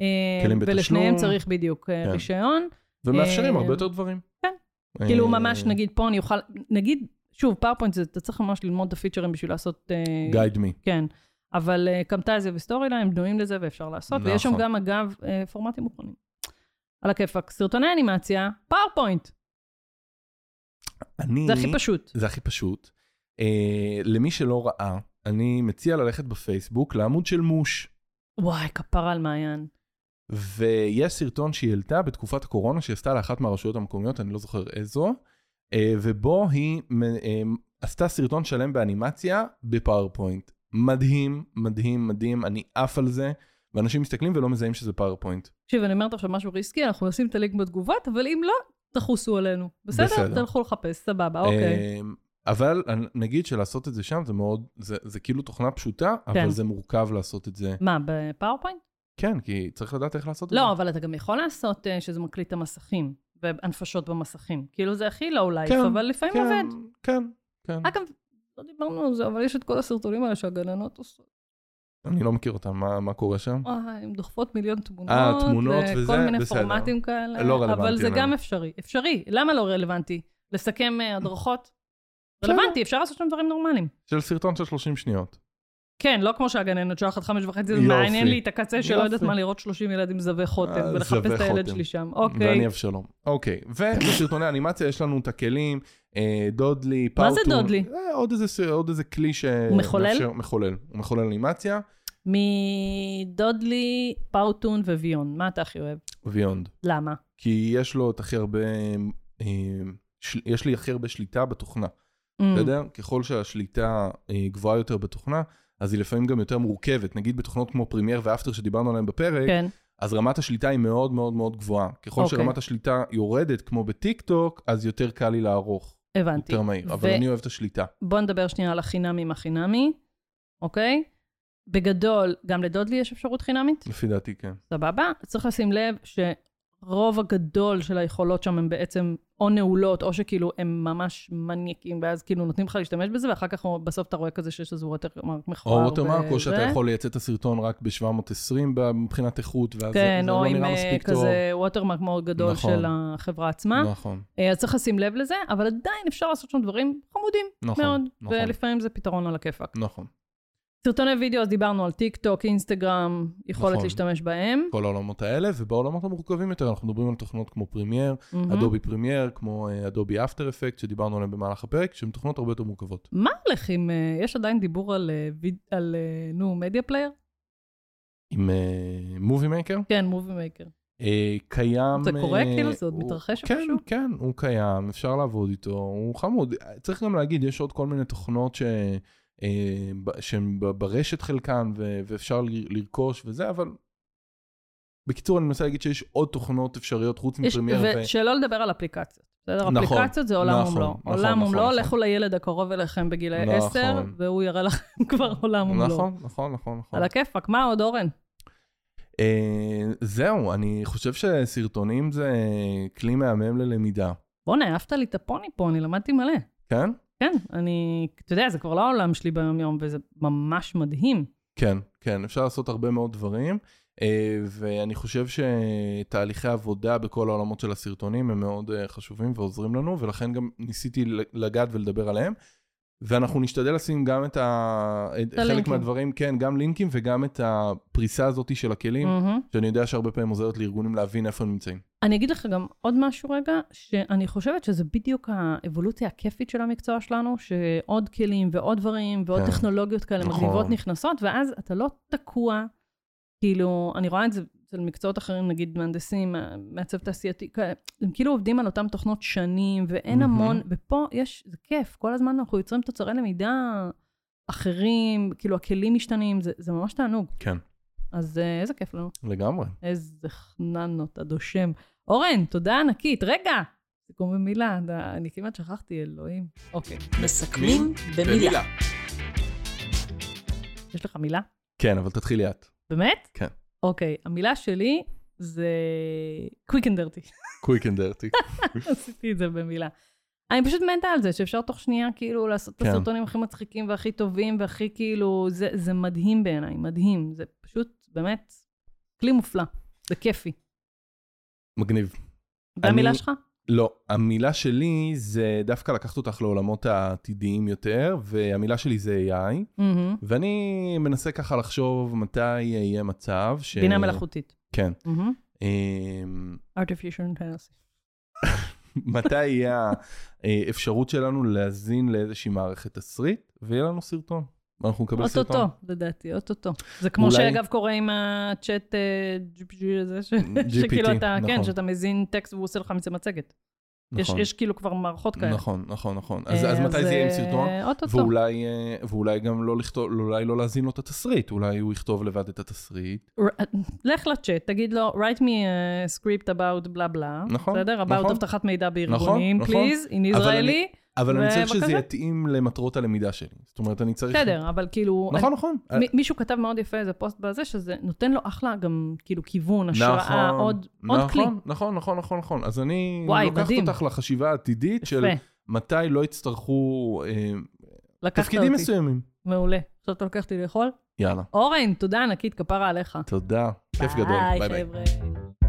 S1: אה,
S2: כלים בתשלום.
S1: ולשניהם צריך בדיוק אה,
S2: כן.
S1: רישיון.
S2: ומאפשרים
S1: אה,
S2: הרבה יותר דברים.
S1: כן.
S2: אה,
S1: כאילו ממש, נגיד פה אני אוכל, נגיד, שוב, פאורפוינט, זה- אתה צריך ממש ללמוד את הפיצ'רים בשביל לעשות... אה,
S2: guide me.
S1: כן. אבל אה, קמטזיה וסטורי ליין בנויים לזה ואפשר לעשות, ויש שם
S2: נכון.
S1: גם, אגב, אה, פורמטים מוכנים. על הכיפאק. סרטוני אנימציה, פאורפוינט,
S2: אני...
S1: זה הכי
S2: Mm-hmm.
S1: פשוט.
S2: זה הכי פשוט. אה, למי שלא ראה, אני מציע ללכת בפייסבוק לעמוד של מוש.
S1: וואי, כפרה על מעיין.
S2: ויש סרטון שהיא העלתה בתקופת הקורונה שהיא עשתה לאחת מהרשויות המקומיות, אני לא זוכר איזו, אה, ובו היא מ- אה, עשתה סרטון שלם באנימציה בפאורפוינט. מדהים, מדהים, מדהים, אני עף על זה, ואנשים מסתכלים ולא מזהים שזה פאורפוינט.
S1: תקשיב, אני אומרת עכשיו משהו ריסקי, אנחנו נשים את הלינק בתגובות, אבל אם לא, תחוסו עלינו. בסדר?
S2: בסדר.
S1: תלכו לחפש, סבבה, אוקיי.
S2: אה, אבל אני- נגיד שלעשות את זה שם זה מאוד, זה, זה כאילו תוכנה פשוטה, אבל
S1: כן.
S2: זה מורכב לעשות את זה.
S1: מה, בפאורפוינט?
S2: כן, כי צריך לדעת איך לעשות את
S1: לא,
S2: זה.
S1: אבל אתה גם יכול לעשות אה, שזה מקליט את המסכים, והנפשות במסכים. כאילו זה הכי לואו לייף,
S2: כן,
S1: אבל לפעמים
S2: כן,
S1: עובד.
S2: כן, כן.
S1: אגב, לא דיברנו על זה, אבל יש את כל הסרטונים האלה שהגננות עושות.
S2: אני לא מכיר אותם, מה, מה קורה שם?
S1: וואי, הן דוחפות מיליון תמונות.
S2: אה, תמונות
S1: לכל
S2: וזה,
S1: מיני
S2: בסדר.
S1: פורמטים כאלה.
S2: לא רלוונטי
S1: אבל זה
S2: אלינו.
S1: גם אפשרי. אפשרי. למה לא רלוונטי? לסכם אה, הדרכות? רלוונטי, אפשר לעשות שם דברים נורמליים.
S2: של סרטון של 30 שניות.
S1: כן, לא כמו שהגננת שולחת חמש וחצי, זה
S2: יופי.
S1: מעניין לי את הקצה שלא
S2: יופי.
S1: יודעת מה לראות 30 ילדים זבי חוטם,
S2: אה,
S1: ולחפש
S2: זבי
S1: את הילד
S2: חוטם.
S1: שלי שם.
S2: ואני
S1: אוקיי.
S2: אבשלום. אוקיי, ובסרטוני אנימציה יש לנו את הכלים, אה, דודלי,
S1: מה
S2: פאוטון.
S1: זה דודלי?
S2: אה, עוד איזה, ס- עוד איזה כלי ש...
S1: מחולל?
S2: מאפשר- מחולל. הוא מחולל אנימציה,
S1: מדודלי, פאוטון וויון, מה אתה הכי אוהב?
S2: ויונד.
S1: למה?
S2: כי יש לו את הכי הרבה... אה, של- יש לי הכי הרבה שליטה בתוכנה,
S1: Mm.
S2: אתה יודע? ככל שהשליטה אה, גבוהה יותר בתוכנה, אז היא לפעמים גם יותר מורכבת. נגיד בתוכנות כמו פרימייר ואפטר שדיברנו עליהן בפרק,
S1: כן,
S2: אז רמת השליטה היא מאוד מאוד מאוד גבוהה. ככל
S1: אוקיי.
S2: שרמת השליטה יורדת, כמו בטיק טוק, אז יותר קל לי לערוך,
S1: הבנתי.
S2: יותר מהיר. אבל
S1: ו-
S2: אני אוהב את השליטה.
S1: בוא נדבר שנייה על החינמי עם החינמי, אוקיי? בגדול, גם לדודלי יש אפשרות חינמית?
S2: לפי דעתי, כן.
S1: סבבה? צריך לשים לב שרוב הגדול של היכולות שם הן בעצם או נעולות, או שכאילו הם ממש מניאקים, ואז כאילו נותנים לך להשתמש בזה, ואחר כך בסוף אתה רואה כזה שיש איזה ווטרמרק
S2: או
S1: מכוער.
S2: ווטרמרק, או
S1: וזה.
S2: שאתה יכול לייצא את הסרטון רק ב-720 מבחינת איכות, ואז זה
S1: כן,
S2: זה
S1: או
S2: לא
S1: עם
S2: נראה
S1: אה,
S2: מספיק טוב.
S1: כזה ווטרמרק מאוד גדול
S2: נכון.
S1: של החברה עצמה.
S2: נכון,
S1: אה, אז צריך לשים לב לזה, אבל עדיין אפשר לעשות שם דברים חמודים מאוד,
S2: נכון, נכון,
S1: ולפעמים זה פתרון על הכיפאק.
S2: נכון.
S1: סרטוני וידאו, אז דיברנו על טיק טוק, אינסטגרם, יכולת
S2: נכון.
S1: להשתמש בהם.
S2: כל העולמות האלה, ובעולמות המורכבים יותר, אנחנו מדברים על תוכנות כמו פרימייר,
S1: מהמם.
S2: אדובי פרימייר, כמו אה, אדובי אפטר אפקט, שדיברנו עליהן במהלך הפרק, שהן תוכנות הרבה יותר מורכבות.
S1: מה הולך עם... אה, יש עדיין דיבור על, אה, ויד- על אה, נו, מדיה פלייר?
S2: עם מובי מייקר?
S1: כן, מובי מייקר.
S2: אה, קיים...
S1: זה קורה?
S2: אה,
S1: כאילו, זה עוד
S2: הוא-
S1: מתרחש
S2: כן,
S1: איפשהו?
S2: כן, הוא קיים, אפשר לעבוד איתו, הוא חמוד. צריך גם להגיד, יש עוד כל מיני תוכנות ש... אה, ב- שהן ב- ברשת חלקן, ו- ואפשר ל- לרכוש וזה, אבל... בקיצור, אני מנסה להגיד שיש עוד תוכנות אפשריות חוץ
S1: יש-
S2: מפרמייר ו...
S1: ושלא לדבר על אפליקציות. בסדר,
S2: נכון,
S1: אפליקציות זה עולם
S2: נכון,
S1: ומלואו.
S2: נכון,
S1: עולם
S2: נכון,
S1: ומלואו,
S2: נכון.
S1: לכו לילד הקרוב אליכם בגילאי
S2: נכון.
S1: 10, והוא יראה לכם כבר עולם ומלואו.
S2: נכון, נכון, נכון, נכון.
S1: לא. על הכיפאק, מה עוד אורן?
S2: אה, זהו, אני חושב שסרטונים זה כלי מהמם ללמידה,
S1: בואנה, העפת לי את הפוני פה, אני למדתי מלא.
S2: כן?
S1: כן, אני, אתה יודע, זה כבר לא העולם שלי ביום-יום, וזה ממש מדהים.
S2: כן, כן, אפשר לעשות הרבה מאוד דברים, אה, ואני חושב שתהליכי עבודה בכל העולמות של הסרטונים הם מאוד אה, חשובים ועוזרים לנו, ולכן גם ניסיתי לגעת ולדבר עליהם. ואנחנו נשתדל לשים גם את ה... את חלק
S1: הלינקים.
S2: מהדברים, כן, גם לינקים וגם את הפריסה הזאת של הכלים,
S1: מהמם.
S2: שאני יודע שהרבה פעמים עוזרת לארגונים להבין איפה הם נמצאים.
S1: אני אגיד לך גם עוד משהו רגע, שאני חושבת שזה בדיוק האבולוציה הכיפית של המקצוע שלנו, שעוד כלים ועוד דברים ועוד
S2: כן.
S1: טכנולוגיות כאלה
S2: נכון.
S1: מגניבות נכנסות, ואז אתה לא תקוע, כאילו, אני רואה את זה אצל מקצועות אחרים, נגיד מהנדסים, מעצב תעשייתי, כאלה, הם כאילו עובדים על אותן תוכנות שנים, ואין
S2: מהמם.
S1: המון, ופה יש, זה כיף, כל הזמן אנחנו יוצרים תוצרי למידה אחרים, כאילו הכלים משתנים, זה, זה ממש תענוג.
S2: כן,
S1: אז אה, איזה כיף לנו.
S2: לגמרי.
S1: איזה חננות, עד השם. אורן, תודה ענקית. רגע! סיכום במילה, אתה- אני כמעט שכחתי, אלוהים. אוקיי.
S3: מסכמים במילה.
S1: יש לך מילה?
S2: כן, אבל תתחילי את.
S1: באמת?
S2: כן.
S1: אוקיי, המילה שלי זה קוויק אנד דרטי.
S2: קוויק אנד דרטי.
S1: עשיתי את זה במילה. אני פשוט מתה על זה, שאפשר תוך שנייה כאילו לעשות את
S2: כן.
S1: הסרטונים הכי מצחיקים והכי טובים והכי כאילו, זה, זה מדהים בעיניי, מדהים. זה פשוט באמת כלי מופלא, זה כיפי.
S2: מגניב.
S1: והמילה
S2: אני-
S1: שלך?
S2: לא, המילה שלי זה דווקא לקחת אותך לעולמות העתידיים יותר, והמילה שלי זה AI,
S1: מהמם.
S2: ואני מנסה ככה לחשוב מתי יהיה מצב ש...
S1: בינה מלאכותית.
S2: כן.
S1: מהמם.
S2: אמ,
S1: artificial intelligence.
S2: מתי יהיה האפשרות שלנו להזין לאיזושהי מערכת תסריט, ויהיה לנו סרטון. אנחנו נקבל סרטון.
S1: אוטוטו, לדעתי, אוטוטו. זה כמו
S2: אולי-
S1: שאגב קורה עם הצ'אט אה, GPT הזה, ש- שכאילו אתה,
S2: נכון.
S1: כן, שאתה מזין טקסט והוא עושה לך מזה מצגת. יש-
S2: נכון,
S1: יש כאילו כבר מערכות כאלה.
S2: נכון, נכון, נכון. אז
S1: אה,
S2: אז מתי זה יהיה
S1: אה,
S2: עם סרטון?
S1: אוטוטו.
S2: ואולי, אה, ואולי גם לא לכתוב, אולי לא להזין לו את התסריט, אולי הוא יכתוב לבד את התסריט.
S1: ר- לך לצ'אט, תגיד לו, write me a script about בלה בלה,
S2: נכון,
S1: בסדר? about
S2: נכון.
S1: אבטחת מידע
S2: נכון,
S1: בארגונים,
S2: נכון.
S1: please, in
S2: אבל
S1: Israeli,
S2: אבל אני צריך שזה
S1: ובבקשה.
S2: יתאים למטרות הלמידה שלי. זאת אומרת, אני צריך...
S1: בסדר, אבל כאילו...
S2: נכון, נכון.
S1: אני- מ- מישהו כתב מאוד יפה איזה פוסט בזה, שזה נותן לו אחלה גם כאילו כיוון, השראה,
S2: נכון,
S1: עוד עוד
S2: נכון,
S1: כלי.
S2: נכון, נכון, נכון, נכון. אז אני
S1: וואי,
S2: לוקחת
S1: מדהים.
S2: אותך לחשיבה העתידית של
S1: יפה,
S2: מתי לא יצטרכו אה,
S1: לקחת אותי.
S2: תפקידים מסוימים.
S1: מעולה. עכשיו אתה לוקח אותי לאכול?
S2: יאללה,
S1: אורן, תודה ענקית, כפרה עליך.
S2: תודה. כיף גדול. ביי ביי.
S1: חבר'ה.